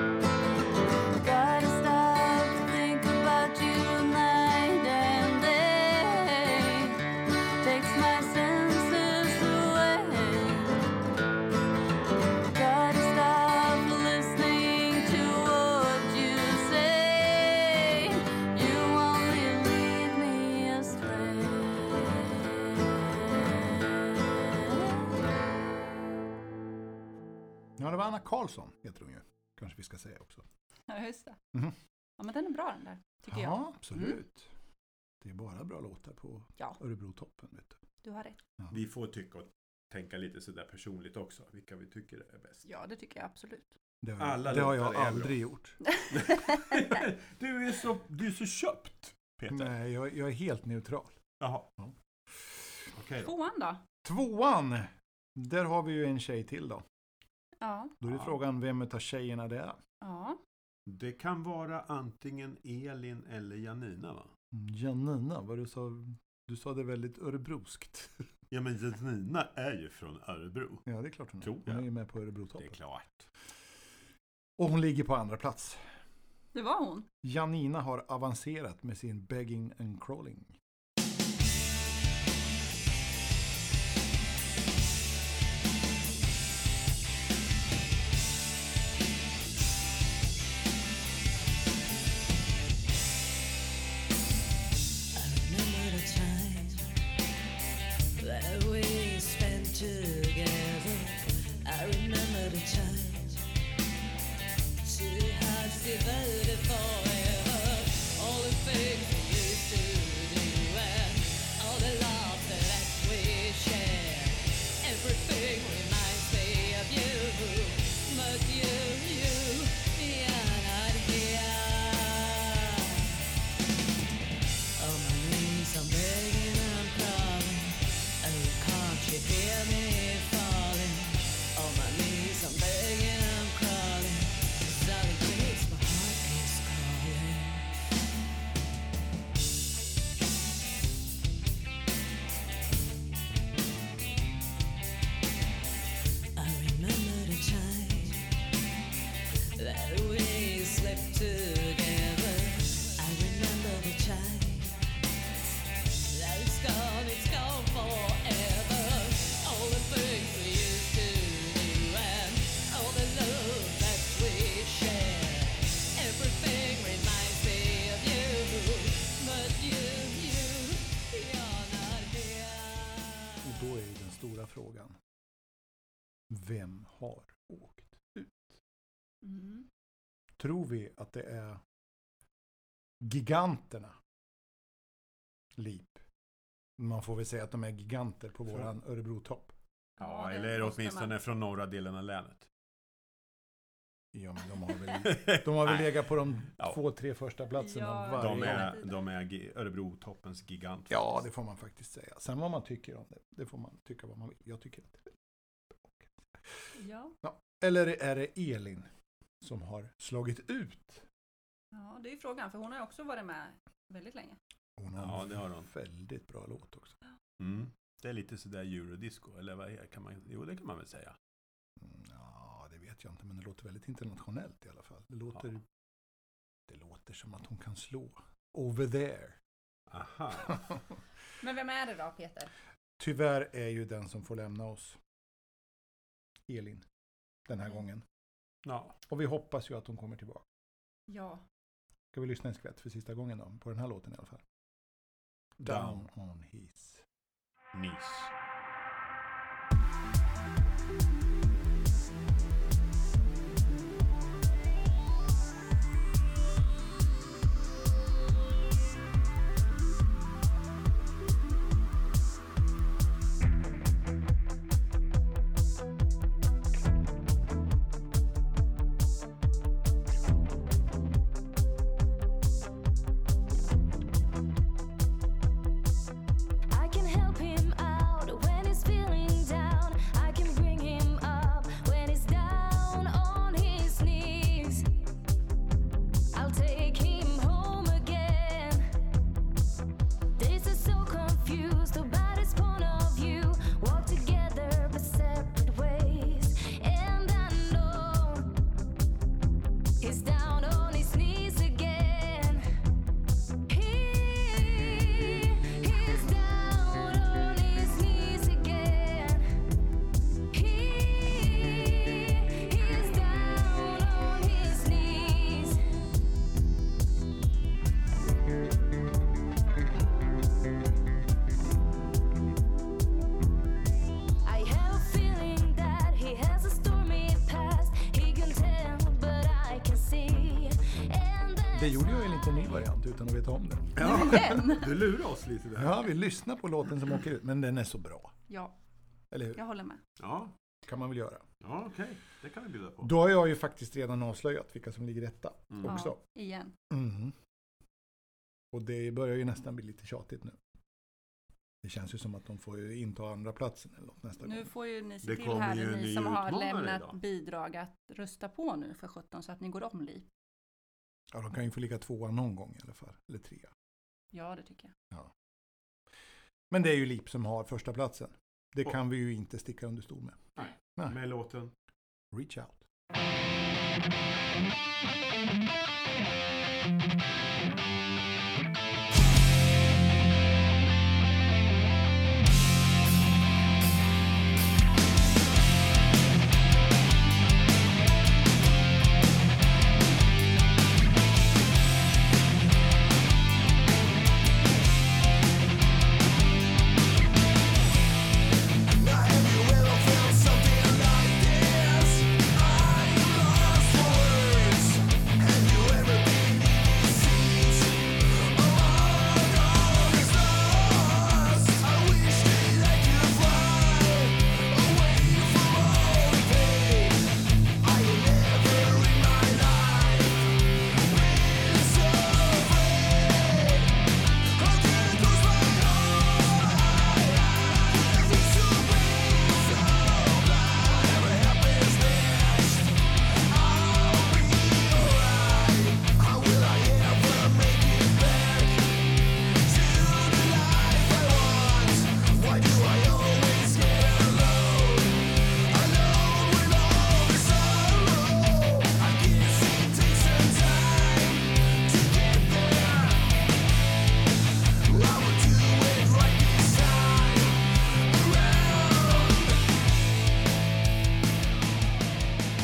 [SPEAKER 8] do? Gotta stop to think about you night and day. Takes my senses away. Gotta stop listening to what you say. You only lead me astray.
[SPEAKER 3] Ja, det var Anna Karlsson heter hon ju. Kanske vi ska säga också.
[SPEAKER 2] Ja, just det.
[SPEAKER 3] Mhm.
[SPEAKER 2] Ja, men den är bra den där, tycker jag. Mm.
[SPEAKER 3] Ja, absolut. Det är bara bra låtar på
[SPEAKER 2] Ja.
[SPEAKER 3] Örebrotoppen. Vet du.
[SPEAKER 2] Du har rätt.
[SPEAKER 9] Vi får tycka och tänka lite sådär personligt också, vilka vi tycker är bäst.
[SPEAKER 2] Ja, det tycker jag absolut.
[SPEAKER 3] Det har, jag-
[SPEAKER 9] Alla
[SPEAKER 3] det har
[SPEAKER 9] låtar
[SPEAKER 3] jag
[SPEAKER 9] är bra.
[SPEAKER 3] aldrig gjort.
[SPEAKER 9] Du är så, du är så köpt, Peter.
[SPEAKER 3] Nej, jag, jag är helt neutral.
[SPEAKER 9] Jaha.
[SPEAKER 3] Ja.
[SPEAKER 9] Okej då.
[SPEAKER 2] Tvåan då?
[SPEAKER 3] Tvåan! Där har vi ju en tjej till då.
[SPEAKER 2] Ja.
[SPEAKER 3] Då är det
[SPEAKER 9] Ja.
[SPEAKER 3] frågan vem utav tjejerna det är.
[SPEAKER 2] Ja.
[SPEAKER 1] Det kan vara antingen Elin eller Janina va?
[SPEAKER 3] Janina, vad du sa. Du sa det väldigt örebroskt.
[SPEAKER 1] Ja men Janina är ju från Örebro.
[SPEAKER 3] Ja, det är klart hon
[SPEAKER 9] Tror
[SPEAKER 3] är.
[SPEAKER 9] jag.
[SPEAKER 3] Hon är ju med på
[SPEAKER 9] Det är
[SPEAKER 3] Örebrotoppen.
[SPEAKER 9] klart.
[SPEAKER 3] Och hon ligger på andra plats.
[SPEAKER 2] Det var hon.
[SPEAKER 3] Janina har avancerat med sin begging and crawling.
[SPEAKER 10] Remember the time that we spent together. I remember the time two hearts divided forever. All the things we used to do.
[SPEAKER 3] Vem har åkt ut?
[SPEAKER 2] Mm.
[SPEAKER 3] Tror vi att det är giganterna? Lip. Man får väl säga att de är giganter på
[SPEAKER 1] Så.
[SPEAKER 3] våran Örebro-topp.
[SPEAKER 9] Ja,
[SPEAKER 2] det
[SPEAKER 9] eller
[SPEAKER 2] måste
[SPEAKER 9] åtminstone
[SPEAKER 2] man.
[SPEAKER 9] från norra delen av länet.
[SPEAKER 3] Ja, men de har väl, de har väl
[SPEAKER 9] Nej,
[SPEAKER 3] legat på de
[SPEAKER 9] Ja.
[SPEAKER 3] två, tre första platserna
[SPEAKER 2] Ja,
[SPEAKER 3] varje
[SPEAKER 9] de
[SPEAKER 3] gång.
[SPEAKER 2] hela
[SPEAKER 9] är,
[SPEAKER 2] tiden.
[SPEAKER 9] de är gi- Örebro-toppens gigant.
[SPEAKER 3] Ja, det
[SPEAKER 9] faktiskt.
[SPEAKER 3] får man faktiskt säga. Sen vad man tycker om det, det får man tycka vad man vill. Jag tycker inte det.
[SPEAKER 2] Ja.
[SPEAKER 3] Eller är det Elin som har slagit ut?
[SPEAKER 2] ja, det är ju frågan, för hon har ju också varit med väldigt länge.
[SPEAKER 3] Hon har
[SPEAKER 9] Ja,
[SPEAKER 3] en
[SPEAKER 9] det har hon.
[SPEAKER 3] väldigt bra låt också.
[SPEAKER 9] Mm. Det är lite sådär eurodisco, eller vad är, kan man, jo det kan man väl säga.
[SPEAKER 3] Mm, Ja, det vet jag inte, men det låter väldigt internationellt i alla fall. Det låter,
[SPEAKER 9] Ja.
[SPEAKER 3] det låter som att hon kan slå. Over there.
[SPEAKER 9] Aha.
[SPEAKER 2] Men vem är det då, Peter?
[SPEAKER 3] Tyvärr är ju den som får lämna oss Elin den här gången.
[SPEAKER 9] Ja.
[SPEAKER 3] Och vi hoppas ju att hon kommer tillbaka.
[SPEAKER 2] Ja.
[SPEAKER 3] Ska vi lyssna en skvätt för sista gången då, på den här låten i alla fall.
[SPEAKER 9] Down.
[SPEAKER 3] Down on his
[SPEAKER 9] Nice.
[SPEAKER 8] I can help him out when he's feeling down. I can bring him up when he's down on his knees. I'll take him home again. This is so confused about his point of view. Walk together but separate ways. And I know he's down on his knees again. He is down on his knees again. He is down on his knees. I have a feeling that he has a stormy past. He can tell, but I can see. And that's
[SPEAKER 3] Det gjorde jag en liten
[SPEAKER 8] why
[SPEAKER 3] ny variant utan att veta om det.
[SPEAKER 9] Du lurar oss lite där.
[SPEAKER 3] Ja, vi lyssnar på låten som åker ut, men den är så bra.
[SPEAKER 2] Ja,
[SPEAKER 3] Eller hur?
[SPEAKER 2] jag håller med.
[SPEAKER 9] Ja,
[SPEAKER 3] Kan man väl göra.
[SPEAKER 9] ja okej. Det kan vi bjuda på.
[SPEAKER 3] Då har jag ju faktiskt redan avslöjat vilka som ligger etta
[SPEAKER 9] Mm.
[SPEAKER 3] också.
[SPEAKER 2] Ja, igen.
[SPEAKER 3] Mhm. Och det börjar ju nästan bli lite tjatigt nu. Det känns ju som att de får ju inta andra platsen eller något nästa
[SPEAKER 2] Nu
[SPEAKER 3] gång.
[SPEAKER 2] får ju ni se
[SPEAKER 9] Det
[SPEAKER 2] till
[SPEAKER 9] kommer
[SPEAKER 2] här,
[SPEAKER 9] ju en
[SPEAKER 2] ni
[SPEAKER 9] ny
[SPEAKER 2] som har
[SPEAKER 9] utmanare
[SPEAKER 2] lämnat
[SPEAKER 9] idag.
[SPEAKER 2] bidrag att rösta på nu för 17 så att ni går om liv.
[SPEAKER 3] Ja, de kan ju få ligga tvåa någon gång i alla fall, eller trea.
[SPEAKER 2] Ja, det tycker jag.
[SPEAKER 3] Men det är ju Lip som har första platsen. Det
[SPEAKER 9] Och-
[SPEAKER 3] kan vi ju inte sticka under stol med.
[SPEAKER 9] Med låten.
[SPEAKER 3] Reach out.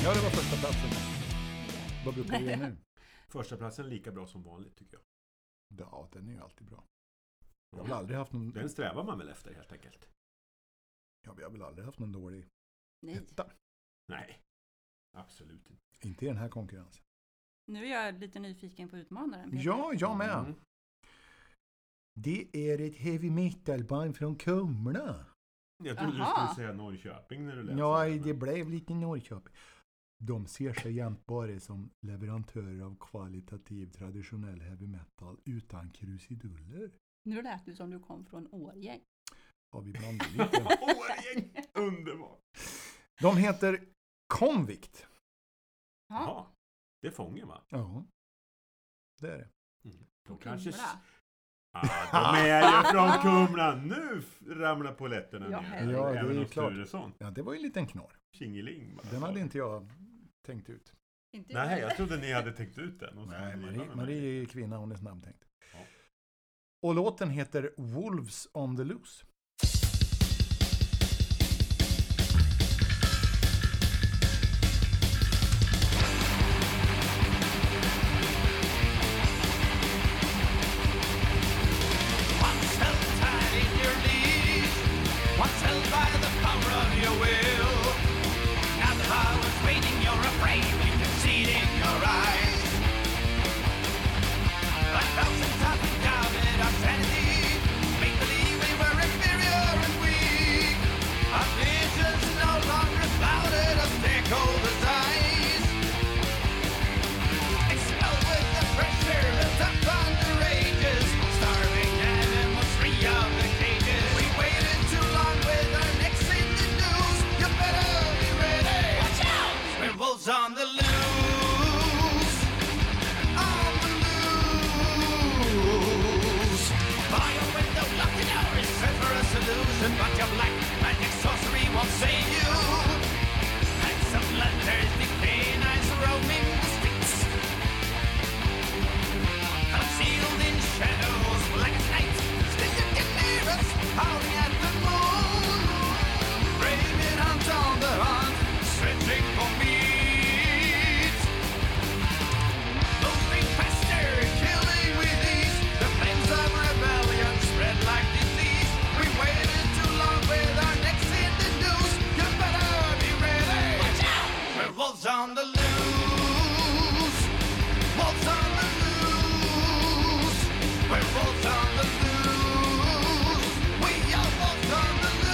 [SPEAKER 3] Ja, det var första platsen. Vad brukar vi göra nu?
[SPEAKER 9] Första platsen lika bra som vanligt tycker jag.
[SPEAKER 3] Ja, den är ju alltid bra. Jag har väl aldrig haft någon,
[SPEAKER 9] Den strävar man väl efter helt enkelt.
[SPEAKER 3] jag har väl aldrig haft någon dålig
[SPEAKER 2] Nej.
[SPEAKER 3] etta.
[SPEAKER 9] Nej, absolut inte.
[SPEAKER 3] Inte i den här konkurrensen.
[SPEAKER 2] Nu är jag lite nyfiken på utmanaren. Peter.
[SPEAKER 3] Ja, jag med.
[SPEAKER 9] Mm.
[SPEAKER 3] Det är ett heavy metal-band från Kumla.
[SPEAKER 9] Jag trodde du
[SPEAKER 2] Jaha.
[SPEAKER 9] skulle säga Norrköping när du läste
[SPEAKER 3] Ja,
[SPEAKER 9] det, men-
[SPEAKER 3] det blev lite Norrköping. De ser sig jämtbara som leverantörer av kvalitativ traditionell heavy metal utan krusiduller.
[SPEAKER 2] Nu lät du som du kom från Årjäng.
[SPEAKER 3] Har vi blandat lite.
[SPEAKER 9] Årjäng! Underbart!
[SPEAKER 3] De heter Convict.
[SPEAKER 2] Ja,
[SPEAKER 9] Jaha, det är fången va?
[SPEAKER 3] Ja, det är det.
[SPEAKER 9] De kanske...
[SPEAKER 2] kanske...
[SPEAKER 9] s- Ah, de är ju från Kumla! Nu f- ramlar poletterna
[SPEAKER 2] Ja,
[SPEAKER 9] ner.
[SPEAKER 2] herregud.
[SPEAKER 3] Ja, det
[SPEAKER 9] Även
[SPEAKER 3] är
[SPEAKER 9] hos
[SPEAKER 3] klart.
[SPEAKER 9] Turesson.
[SPEAKER 3] Ja, det var ju en liten knorr.
[SPEAKER 9] Tjingeling bara.
[SPEAKER 3] Den hade inte jag tänkt ut.
[SPEAKER 2] Inte
[SPEAKER 9] Nej, jag trodde ni hade tänkt ut den. Och så
[SPEAKER 3] Nej,
[SPEAKER 9] driva
[SPEAKER 3] Marie,
[SPEAKER 9] med mig.
[SPEAKER 3] Marie är kvinna, hon är snabbtänkt.
[SPEAKER 9] Ja.
[SPEAKER 3] Och låten heter Wolves on the loose.
[SPEAKER 11] Once held tight in your knees, once held by the power of your will. Now the power's waiting, you're afraid, you can see it in your eyes. A thousand times we doubted our sanity, make believe we were inferior and weak. Our vision's no longer clouded of stakeholders' eyes. On the loose, on the loose. By a window locked in our is set for a solution, but your black magic sorcery won't save you. And some letters decaying eyes roaming the streets. Concealed in shadows, black as night, sticking in near us, howling at the moon. Raving hunt on the hunt, searching for meat. Moving faster, killing with ease. The flames of rebellion spread like disease. We waited too long with our necks in the noose. You better be ready. Watch out! We're wolves on the loose. Wolves on the loose. We're wolves on the loose. We are wolves on the loose.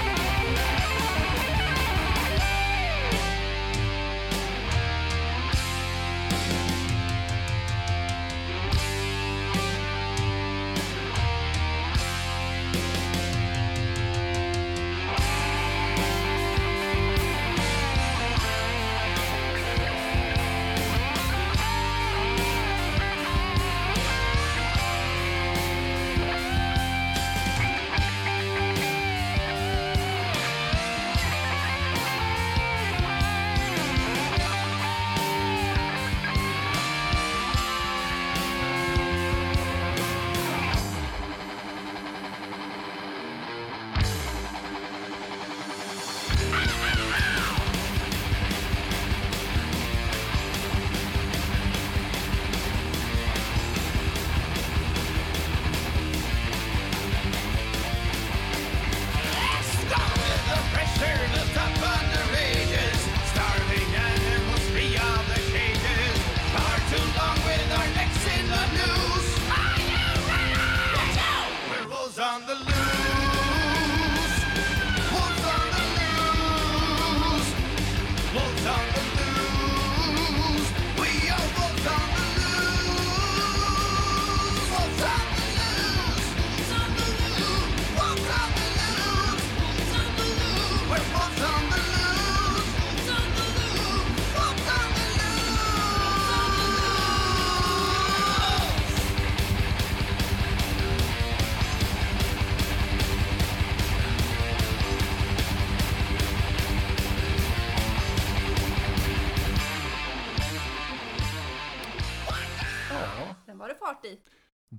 [SPEAKER 8] Wolves on the loose.
[SPEAKER 3] Det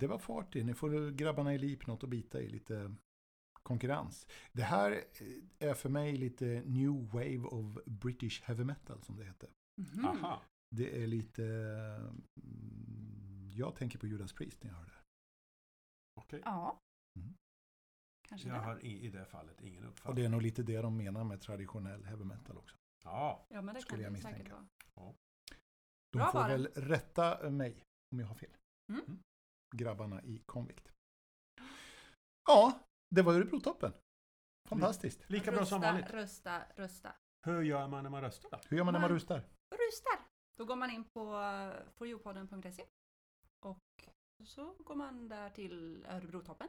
[SPEAKER 3] var fart i. Nu får grabbarna i lip något att bita i. Lite konkurrens. Det här är för mig lite New Wave of British Heavy Metal som det heter.
[SPEAKER 2] Mhm.
[SPEAKER 1] Mm. Aha.
[SPEAKER 3] Det är lite... mm, Jag tänker på Judas Priest när jag hör det.
[SPEAKER 1] Okej.
[SPEAKER 2] Ja.
[SPEAKER 3] Mm.
[SPEAKER 2] Kanske
[SPEAKER 1] Jag
[SPEAKER 2] det.
[SPEAKER 1] har i, i det fallet ingen
[SPEAKER 3] Och
[SPEAKER 1] uppfattning.
[SPEAKER 3] det är nog lite det de menar med traditionell heavy metal också.
[SPEAKER 1] Ja,
[SPEAKER 2] Ja, men det kan
[SPEAKER 3] skulle jag
[SPEAKER 2] det säkert
[SPEAKER 3] misstänka.
[SPEAKER 2] vara.
[SPEAKER 3] De
[SPEAKER 2] Bra
[SPEAKER 3] får
[SPEAKER 2] var det.
[SPEAKER 3] väl rätta mig om jag har fel.
[SPEAKER 2] Mm.
[SPEAKER 3] Grabbarna i Convict. Ja, det var Örebrotoppen. Fantastiskt.
[SPEAKER 12] Lika bra som
[SPEAKER 2] Rösta,
[SPEAKER 12] vanligt.
[SPEAKER 2] Rösta, rösta.
[SPEAKER 12] Hur gör man när man röstar då?
[SPEAKER 3] Hur gör man när man
[SPEAKER 2] Man-
[SPEAKER 3] rustar?
[SPEAKER 2] Röstar! Då går man in på eh, foryoupodden.se och så går man där till Örebrotoppen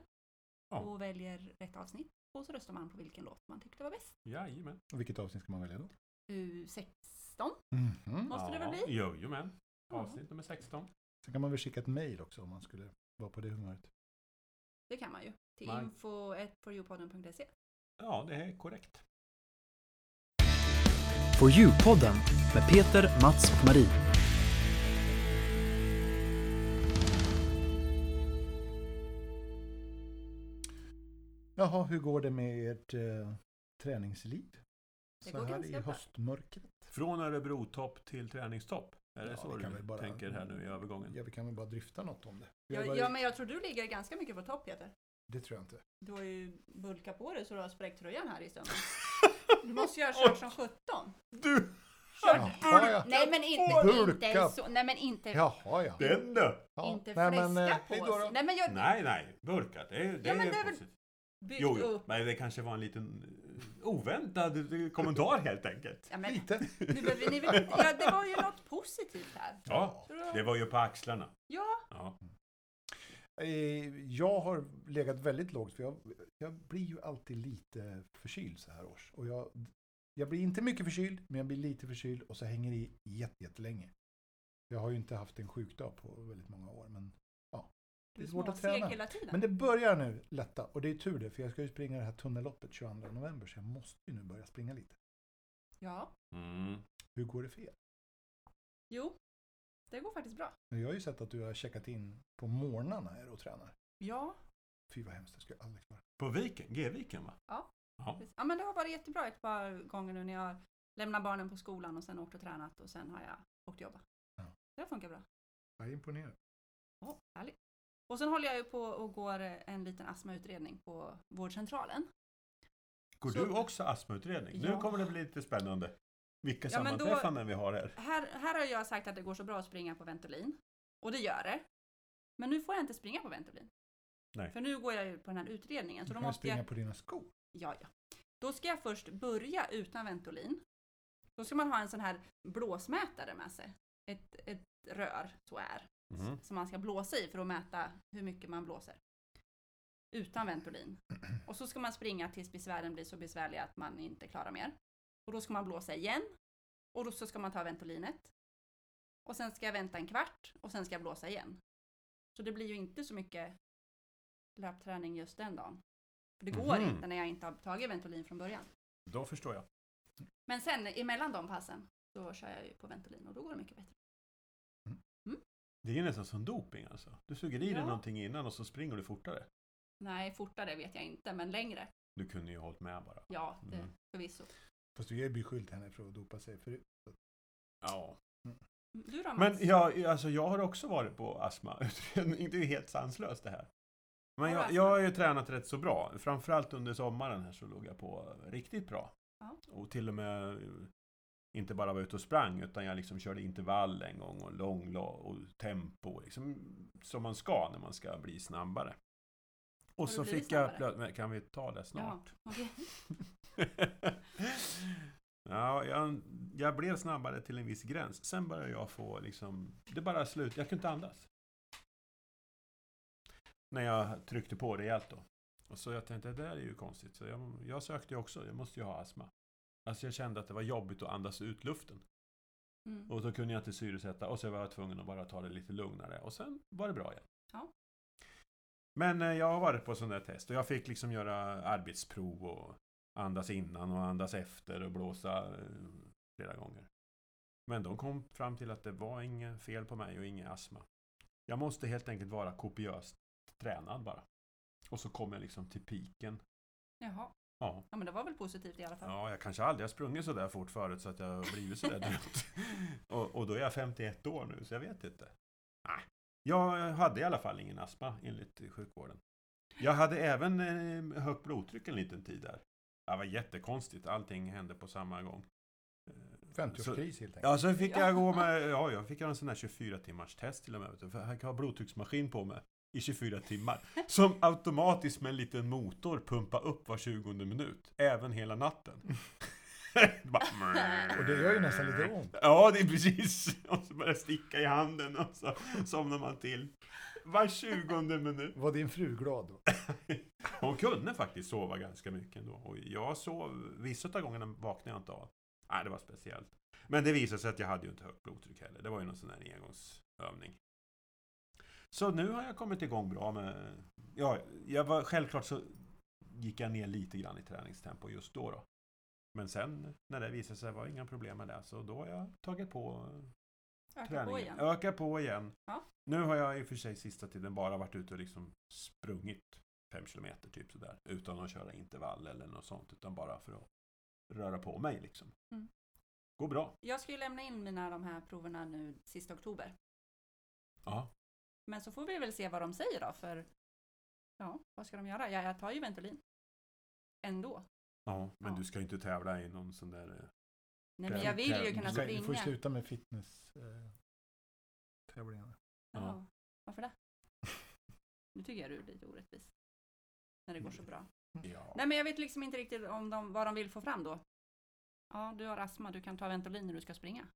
[SPEAKER 1] Ja.
[SPEAKER 2] och väljer rätt avsnitt och så röstar man på vilken låt man tyckte var bäst.
[SPEAKER 1] jajamän.
[SPEAKER 3] Och vilket avsnitt ska man välja då?
[SPEAKER 2] U16
[SPEAKER 3] Mhm.
[SPEAKER 2] måste det
[SPEAKER 1] ja,
[SPEAKER 2] väl bli?
[SPEAKER 1] Jajamän.
[SPEAKER 2] Ja.
[SPEAKER 1] Avsnitt nummer 16.
[SPEAKER 3] Sen kan man väl skicka ett mejl också om man skulle vara på det humöret.
[SPEAKER 2] Det kan man ju. Till
[SPEAKER 1] Man-
[SPEAKER 2] info.foryoupodden.se
[SPEAKER 1] Ja, det är korrekt.
[SPEAKER 4] På Djurpodden med Peter, Mats och Marie.
[SPEAKER 3] Jaha, hur går det med ert eh, träningsliv?
[SPEAKER 2] Det
[SPEAKER 3] Så
[SPEAKER 2] går
[SPEAKER 3] här
[SPEAKER 2] ganska
[SPEAKER 3] i
[SPEAKER 2] bra.
[SPEAKER 3] höstmörkret.
[SPEAKER 1] Från Örebrotopp till träningstopp. Är det
[SPEAKER 3] Ja,
[SPEAKER 1] så
[SPEAKER 3] vi
[SPEAKER 1] du
[SPEAKER 3] kan väl bara-
[SPEAKER 1] tänker här nu i övergången?
[SPEAKER 3] Ja, vi kan väl bara drifta något om det. Vi har
[SPEAKER 2] Ja,
[SPEAKER 3] varit-
[SPEAKER 2] ja, men jag tror du ligger ganska mycket på topp Peter.
[SPEAKER 3] Det tror jag inte.
[SPEAKER 2] Du har ju bulkat på dig så du har spräckt tröjan här i stunden. Du måste ju ha kört som 17.
[SPEAKER 1] Du!
[SPEAKER 2] Kört.
[SPEAKER 3] Jaha, ja.
[SPEAKER 2] Nej men
[SPEAKER 3] på
[SPEAKER 2] inte,
[SPEAKER 3] dig.
[SPEAKER 2] inte så. Nej men inte,
[SPEAKER 3] Jaha, ja.
[SPEAKER 1] Den då!
[SPEAKER 3] ja.
[SPEAKER 2] inte
[SPEAKER 3] Nej,
[SPEAKER 2] fläska
[SPEAKER 3] men, eh, hej
[SPEAKER 2] på
[SPEAKER 3] då då.
[SPEAKER 2] sig. Nej men jag
[SPEAKER 1] Nej, nej. Burkat. Det, är- det
[SPEAKER 2] Ja, men
[SPEAKER 1] är
[SPEAKER 2] det är väl-
[SPEAKER 1] positivt.
[SPEAKER 2] byggt
[SPEAKER 1] Jo, jo.
[SPEAKER 2] upp.
[SPEAKER 1] Men det kanske var en liten eh, oväntad eh, kommentar helt enkelt.
[SPEAKER 2] Ja, men,
[SPEAKER 3] Lite.
[SPEAKER 2] nu behöver ni väl inte, ja, det var ju något positivt här.
[SPEAKER 1] Ja,
[SPEAKER 2] Så då-
[SPEAKER 1] det var ju på axlarna.
[SPEAKER 2] Ja,
[SPEAKER 1] Ja.
[SPEAKER 3] Eh, Jag har legat väldigt lågt för jag, jag blir ju alltid lite förkyld så här års. Och jag, jag blir inte mycket förkyld, men jag blir lite förkyld och så hänger det i jätte- jättelänge. Jag har ju inte haft en sjukdag på väldigt många år, men ja. Det är svårt att
[SPEAKER 2] småseg
[SPEAKER 3] träna.
[SPEAKER 2] hela tiden.
[SPEAKER 3] Men det börjar nu lätta och det är tur det, för jag ska ju springa det här tunnelloppet 22 november, så jag måste ju nu börja springa lite.
[SPEAKER 2] Ja,
[SPEAKER 1] Mm.
[SPEAKER 3] Hur går det för er?
[SPEAKER 2] jo, det går faktiskt bra.
[SPEAKER 3] Men Jag har ju sett att du har checkat in på morgnarna här och tränar.
[SPEAKER 2] Ja,
[SPEAKER 3] Fy vad hemskt, det skulle jag aldrig klara.
[SPEAKER 1] På Viken? G-viken va?
[SPEAKER 2] precis. ja men det har varit jättebra ett par gånger nu när jag lämnar barnen på skolan och sen åkt och tränat och sen har jag åkt och jobbat.
[SPEAKER 3] Ja.
[SPEAKER 2] Det har funkat bra.
[SPEAKER 3] Jag är imponerad.
[SPEAKER 2] Åh, härligt. Och sen håller jag ju på och går en liten astmautredning på vårdcentralen.
[SPEAKER 1] Går
[SPEAKER 2] Så-
[SPEAKER 1] du också astmautredning? Nu
[SPEAKER 2] Ja.
[SPEAKER 1] kommer det bli lite spännande. Vilka
[SPEAKER 2] Ja, men då-
[SPEAKER 1] sammanträffanden vi har här.
[SPEAKER 2] Här, här har jag sagt att det går så bra att springa på Ventolin. Och det gör det. Men nu får jag inte springa på Ventolin.
[SPEAKER 1] Nej.
[SPEAKER 2] För nu går jag ju på den här utredningen. Så då
[SPEAKER 3] Du kan ju
[SPEAKER 2] måste jag...
[SPEAKER 3] springa på dina skor.
[SPEAKER 2] Ja, ja. Då ska jag först börja utan Ventolin. Då ska man ha en sån här blåsmätare med sig. Ett, ett rör, så är,
[SPEAKER 1] Mhm.
[SPEAKER 2] som man ska blåsa i för att mäta hur mycket man blåser. Utan Ventolin. Och så ska man springa tills besvären blir så besvärliga att man inte klarar mer. Och då ska man blåsa igen. Och då så ska man ta Ventolinet. Och sen ska jag vänta en kvart och sen ska jag blåsa igen. Så det blir ju inte så mycket löpträning just den dagen. För det går
[SPEAKER 1] Mhm.
[SPEAKER 2] inte när jag inte har tagit Ventolin från början.
[SPEAKER 1] Då förstår jag.
[SPEAKER 2] Men sen emellan de passen så kör jag ju på Ventolin och då går det mycket bättre.
[SPEAKER 1] Det är nästan som doping alltså. Du suger i dig
[SPEAKER 2] Ja.
[SPEAKER 1] någonting innan och så springer du fortare.
[SPEAKER 2] Nej, fortare vet jag inte, men längre.
[SPEAKER 1] Du kunde ju hållit med bara.
[SPEAKER 2] Ja, det,
[SPEAKER 1] Mm.
[SPEAKER 2] förvisso.
[SPEAKER 3] Fast du är ju beskylld henne för att dopa sig förut.
[SPEAKER 1] Ja.
[SPEAKER 2] Du då
[SPEAKER 1] Men
[SPEAKER 2] Mats?
[SPEAKER 1] jag, alltså jag har också varit på astmautredning. Det är ju helt sanslöst det här. Men
[SPEAKER 2] Har du
[SPEAKER 1] jag,
[SPEAKER 2] astma?
[SPEAKER 1] jag har ju tränat rätt så bra. Framförallt under sommaren här så låg jag på riktigt bra.
[SPEAKER 2] Ja.
[SPEAKER 1] Och till och med eh, inte bara var ute och sprang utan jag liksom körde intervall en gång och lång och tempo. Liksom, som man ska när man ska bli snabbare.
[SPEAKER 2] Har
[SPEAKER 1] Och
[SPEAKER 2] du
[SPEAKER 1] så
[SPEAKER 2] blivit
[SPEAKER 1] fick jag
[SPEAKER 2] snabbare?
[SPEAKER 1] plötsligt... Kan vi ta det snart?
[SPEAKER 2] Ja, okej.
[SPEAKER 1] ja, jag, jag blev snabbare till en viss gräns. Sen började jag få liksom... Det bara slut. Jag kunde inte andas. När jag tryckte på rejält då. Och så jag tänkte, det där är ju konstigt. Så jag, jag sökte ju också. Jag måste ju ha astma. Alltså jag kände att det var jobbigt att andas ut luften.
[SPEAKER 2] Mm.
[SPEAKER 1] Och då kunde jag inte syresätta och så var jag tvungen att bara ta det lite lugnare och sen var det bra igen.
[SPEAKER 2] Ja.
[SPEAKER 1] Men eh, jag har varit på sådana där test och jag fick liksom göra arbetsprov och andas innan och andas efter och blåsa eh, flera gånger. Men de kom fram till att det var inget fel på mig och ingen astma. Jag måste helt enkelt vara kopiöst tränad bara. Och så kommer jag liksom till piken.
[SPEAKER 2] Jaha.
[SPEAKER 1] Ja.
[SPEAKER 2] Ja men det var väl positivt i alla fall.
[SPEAKER 1] Ja, jag kanske aldrig har sprungit så där fort förut så att jag har blivit så där dumt. Och, och då är jag 51 år nu, så jag vet inte. Nej. Jag hade i alla fall ingen astma enligt sjukvården. Jag hade även eh, högt blodtryck en liten tid där. Det var jättekonstigt, allting hände på samma gång. Eh,
[SPEAKER 3] 50-årskris helt enkelt.
[SPEAKER 1] Ja, så fick
[SPEAKER 2] Ja.
[SPEAKER 1] jag gå med, ja, jag fick göra en sån här 24 timmars test till och med. vet du, För jag kan ha blodtrycksmaskin på mig i 24 timmar. Som automatiskt med en liten motor pumpar upp var 20 minut. Även hela natten. Det bara-
[SPEAKER 3] Och det gör ju nästan lite ont.
[SPEAKER 1] Ja, det är precis. Och så börjar jag sticka i handen och så somnar man till. Var 20 minut.
[SPEAKER 3] Var din fru glad då?
[SPEAKER 1] Hon kunde faktiskt sova ganska mycket ändå. Och jag sov, vissa av gångerna vaknade jag inte av. Nej, det var speciellt. Men det visade sig att jag hade ju inte högt blodtryck heller. Det var ju någon sån här engångsövning. Så nu har jag kommit igång bra med... Ja, jag var, självklart så gick jag ner lite grann i träningstempo just då. då. Men sen när det visade sig var det inga problem med det. Så då har jag tagit på
[SPEAKER 2] Öka på
[SPEAKER 1] träningen.
[SPEAKER 2] igen.
[SPEAKER 1] Öka på igen.
[SPEAKER 2] Ja.
[SPEAKER 1] Nu har jag i och för sig sista tiden bara varit ute och liksom sprungit fem kilometer typ sådär. Utan att köra intervall eller något sånt. Utan bara för att röra på mig liksom.
[SPEAKER 2] Mm.
[SPEAKER 1] Går bra.
[SPEAKER 2] Jag ska ju lämna in mina de här proverna nu sista oktober.
[SPEAKER 1] Ja.
[SPEAKER 2] Men så får vi väl se vad de säger då för ja, vad ska de göra? Ja, jag tar ju Ventolin. Ändå.
[SPEAKER 1] ja men
[SPEAKER 2] Ja.
[SPEAKER 1] du ska ju inte tävla i någon sån där... eh,
[SPEAKER 2] Nej, men
[SPEAKER 1] Kräm,
[SPEAKER 2] jag vill ju
[SPEAKER 1] kräm.
[SPEAKER 2] kunna
[SPEAKER 1] Du ska-
[SPEAKER 3] Du får ju
[SPEAKER 2] springa.
[SPEAKER 3] sluta med fitness eh, tävlingar.
[SPEAKER 2] Jaha. Varför det? Nu tycker jag du är lite orättvis. När det går
[SPEAKER 1] Mm.
[SPEAKER 2] så bra.
[SPEAKER 1] Ja.
[SPEAKER 2] Nej men jag vet liksom inte riktigt om de, vad de vill få fram då. Ja, du har astma, du kan ta Ventolin när du ska springa.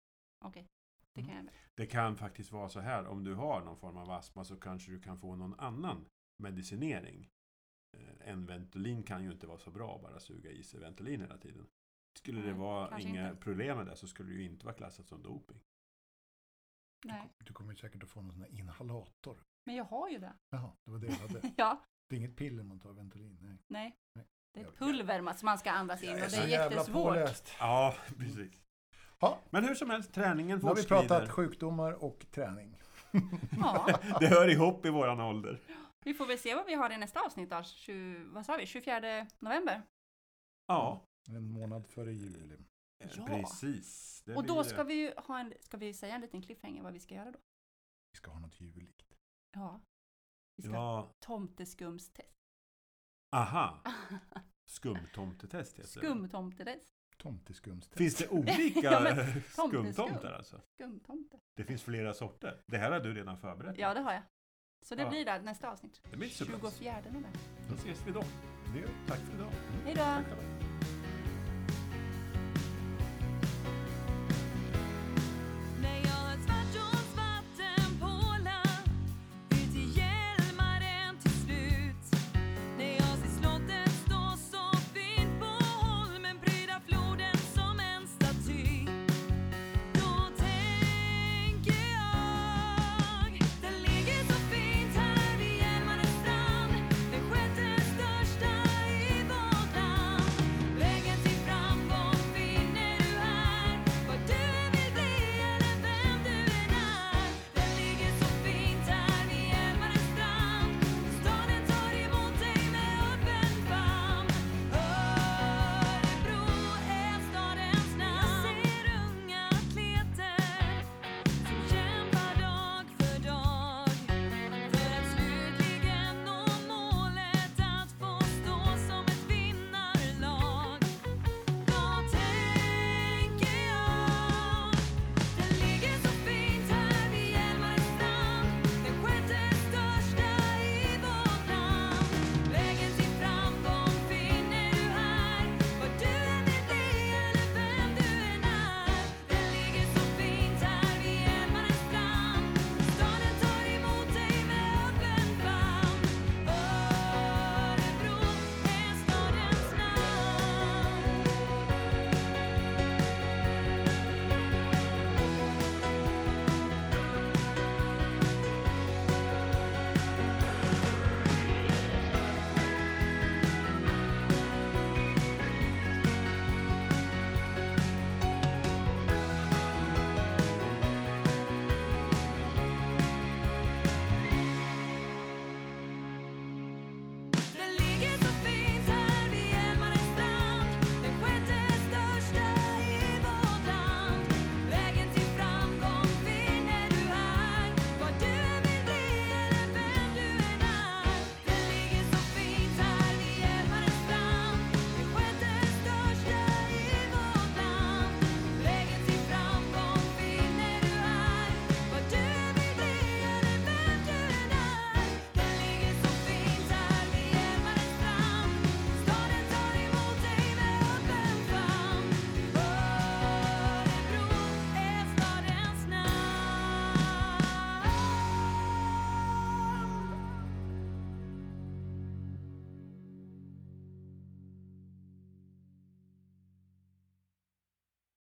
[SPEAKER 2] Okej, det
[SPEAKER 1] Mm.
[SPEAKER 2] kan jag väl.
[SPEAKER 1] Det kan faktiskt vara så här. Om du har någon form av astma så kanske du kan få någon annan medicinering. Eh, En Ventolin kan ju inte vara så bra att bara suga i sig Ventolin hela tiden. Skulle det
[SPEAKER 2] Nej,
[SPEAKER 1] vara
[SPEAKER 2] kanske
[SPEAKER 1] inga
[SPEAKER 2] inte.
[SPEAKER 1] problem med det så skulle det ju inte vara klassat som doping.
[SPEAKER 2] Nej,
[SPEAKER 3] Du kommer ju säkert att få någon sån här inhalator.
[SPEAKER 2] men jag har ju det.
[SPEAKER 3] Jaha, det var det jag hade.
[SPEAKER 2] Ja,
[SPEAKER 3] Det är inget piller man tar, Ventolin. Nej.
[SPEAKER 2] nej.
[SPEAKER 3] Nej.
[SPEAKER 2] Det är
[SPEAKER 3] Jag-
[SPEAKER 2] ett pulver man- som man ska andas in och
[SPEAKER 3] Jag
[SPEAKER 2] det
[SPEAKER 3] så
[SPEAKER 2] är
[SPEAKER 3] jävla
[SPEAKER 2] jättesvårt.
[SPEAKER 3] påläst.
[SPEAKER 1] Ja, precis.
[SPEAKER 3] Ja.
[SPEAKER 1] Mm. Men hur som helst, träningen
[SPEAKER 3] Nu har vi
[SPEAKER 1] fortskrider.
[SPEAKER 3] pratat sjukdomar och träning.
[SPEAKER 2] Ja,
[SPEAKER 1] Det hör ihop i våran ålder.
[SPEAKER 2] vi får väl se vad vi har i nästa avsnitt då. 20, vad sa vi? 24 november.
[SPEAKER 1] Ja,
[SPEAKER 3] En månad före jul.
[SPEAKER 2] Ja.
[SPEAKER 1] Eh, precis. Det
[SPEAKER 2] Och
[SPEAKER 1] blir
[SPEAKER 2] då
[SPEAKER 1] det.
[SPEAKER 2] ska vi ju ha en, ska vi säga en liten cliffhanger vad vi ska göra då?
[SPEAKER 3] Vi ska ha något juligt.
[SPEAKER 2] Ja. Vi ska ha
[SPEAKER 1] Ja,
[SPEAKER 2] tomteskumstest.
[SPEAKER 1] aha. Skumtomtetest heter det.
[SPEAKER 2] Skumtomtetest.
[SPEAKER 3] Tomteskumstest.
[SPEAKER 1] Finns det olika
[SPEAKER 2] Ja, men tomteskum.
[SPEAKER 1] skumtomtar alltså?
[SPEAKER 2] Skumtomte.
[SPEAKER 1] Det finns flera sorter. Det här har du redan förberett.
[SPEAKER 2] Ja, det har jag. Så det
[SPEAKER 1] Ja.
[SPEAKER 2] blir det nästa avsnitt.
[SPEAKER 1] Det blir inte så bra.
[SPEAKER 2] 24 november.
[SPEAKER 1] Då ses vi då.
[SPEAKER 3] Det gör
[SPEAKER 1] Tack för idag.
[SPEAKER 2] Hej då!
[SPEAKER 1] Tack.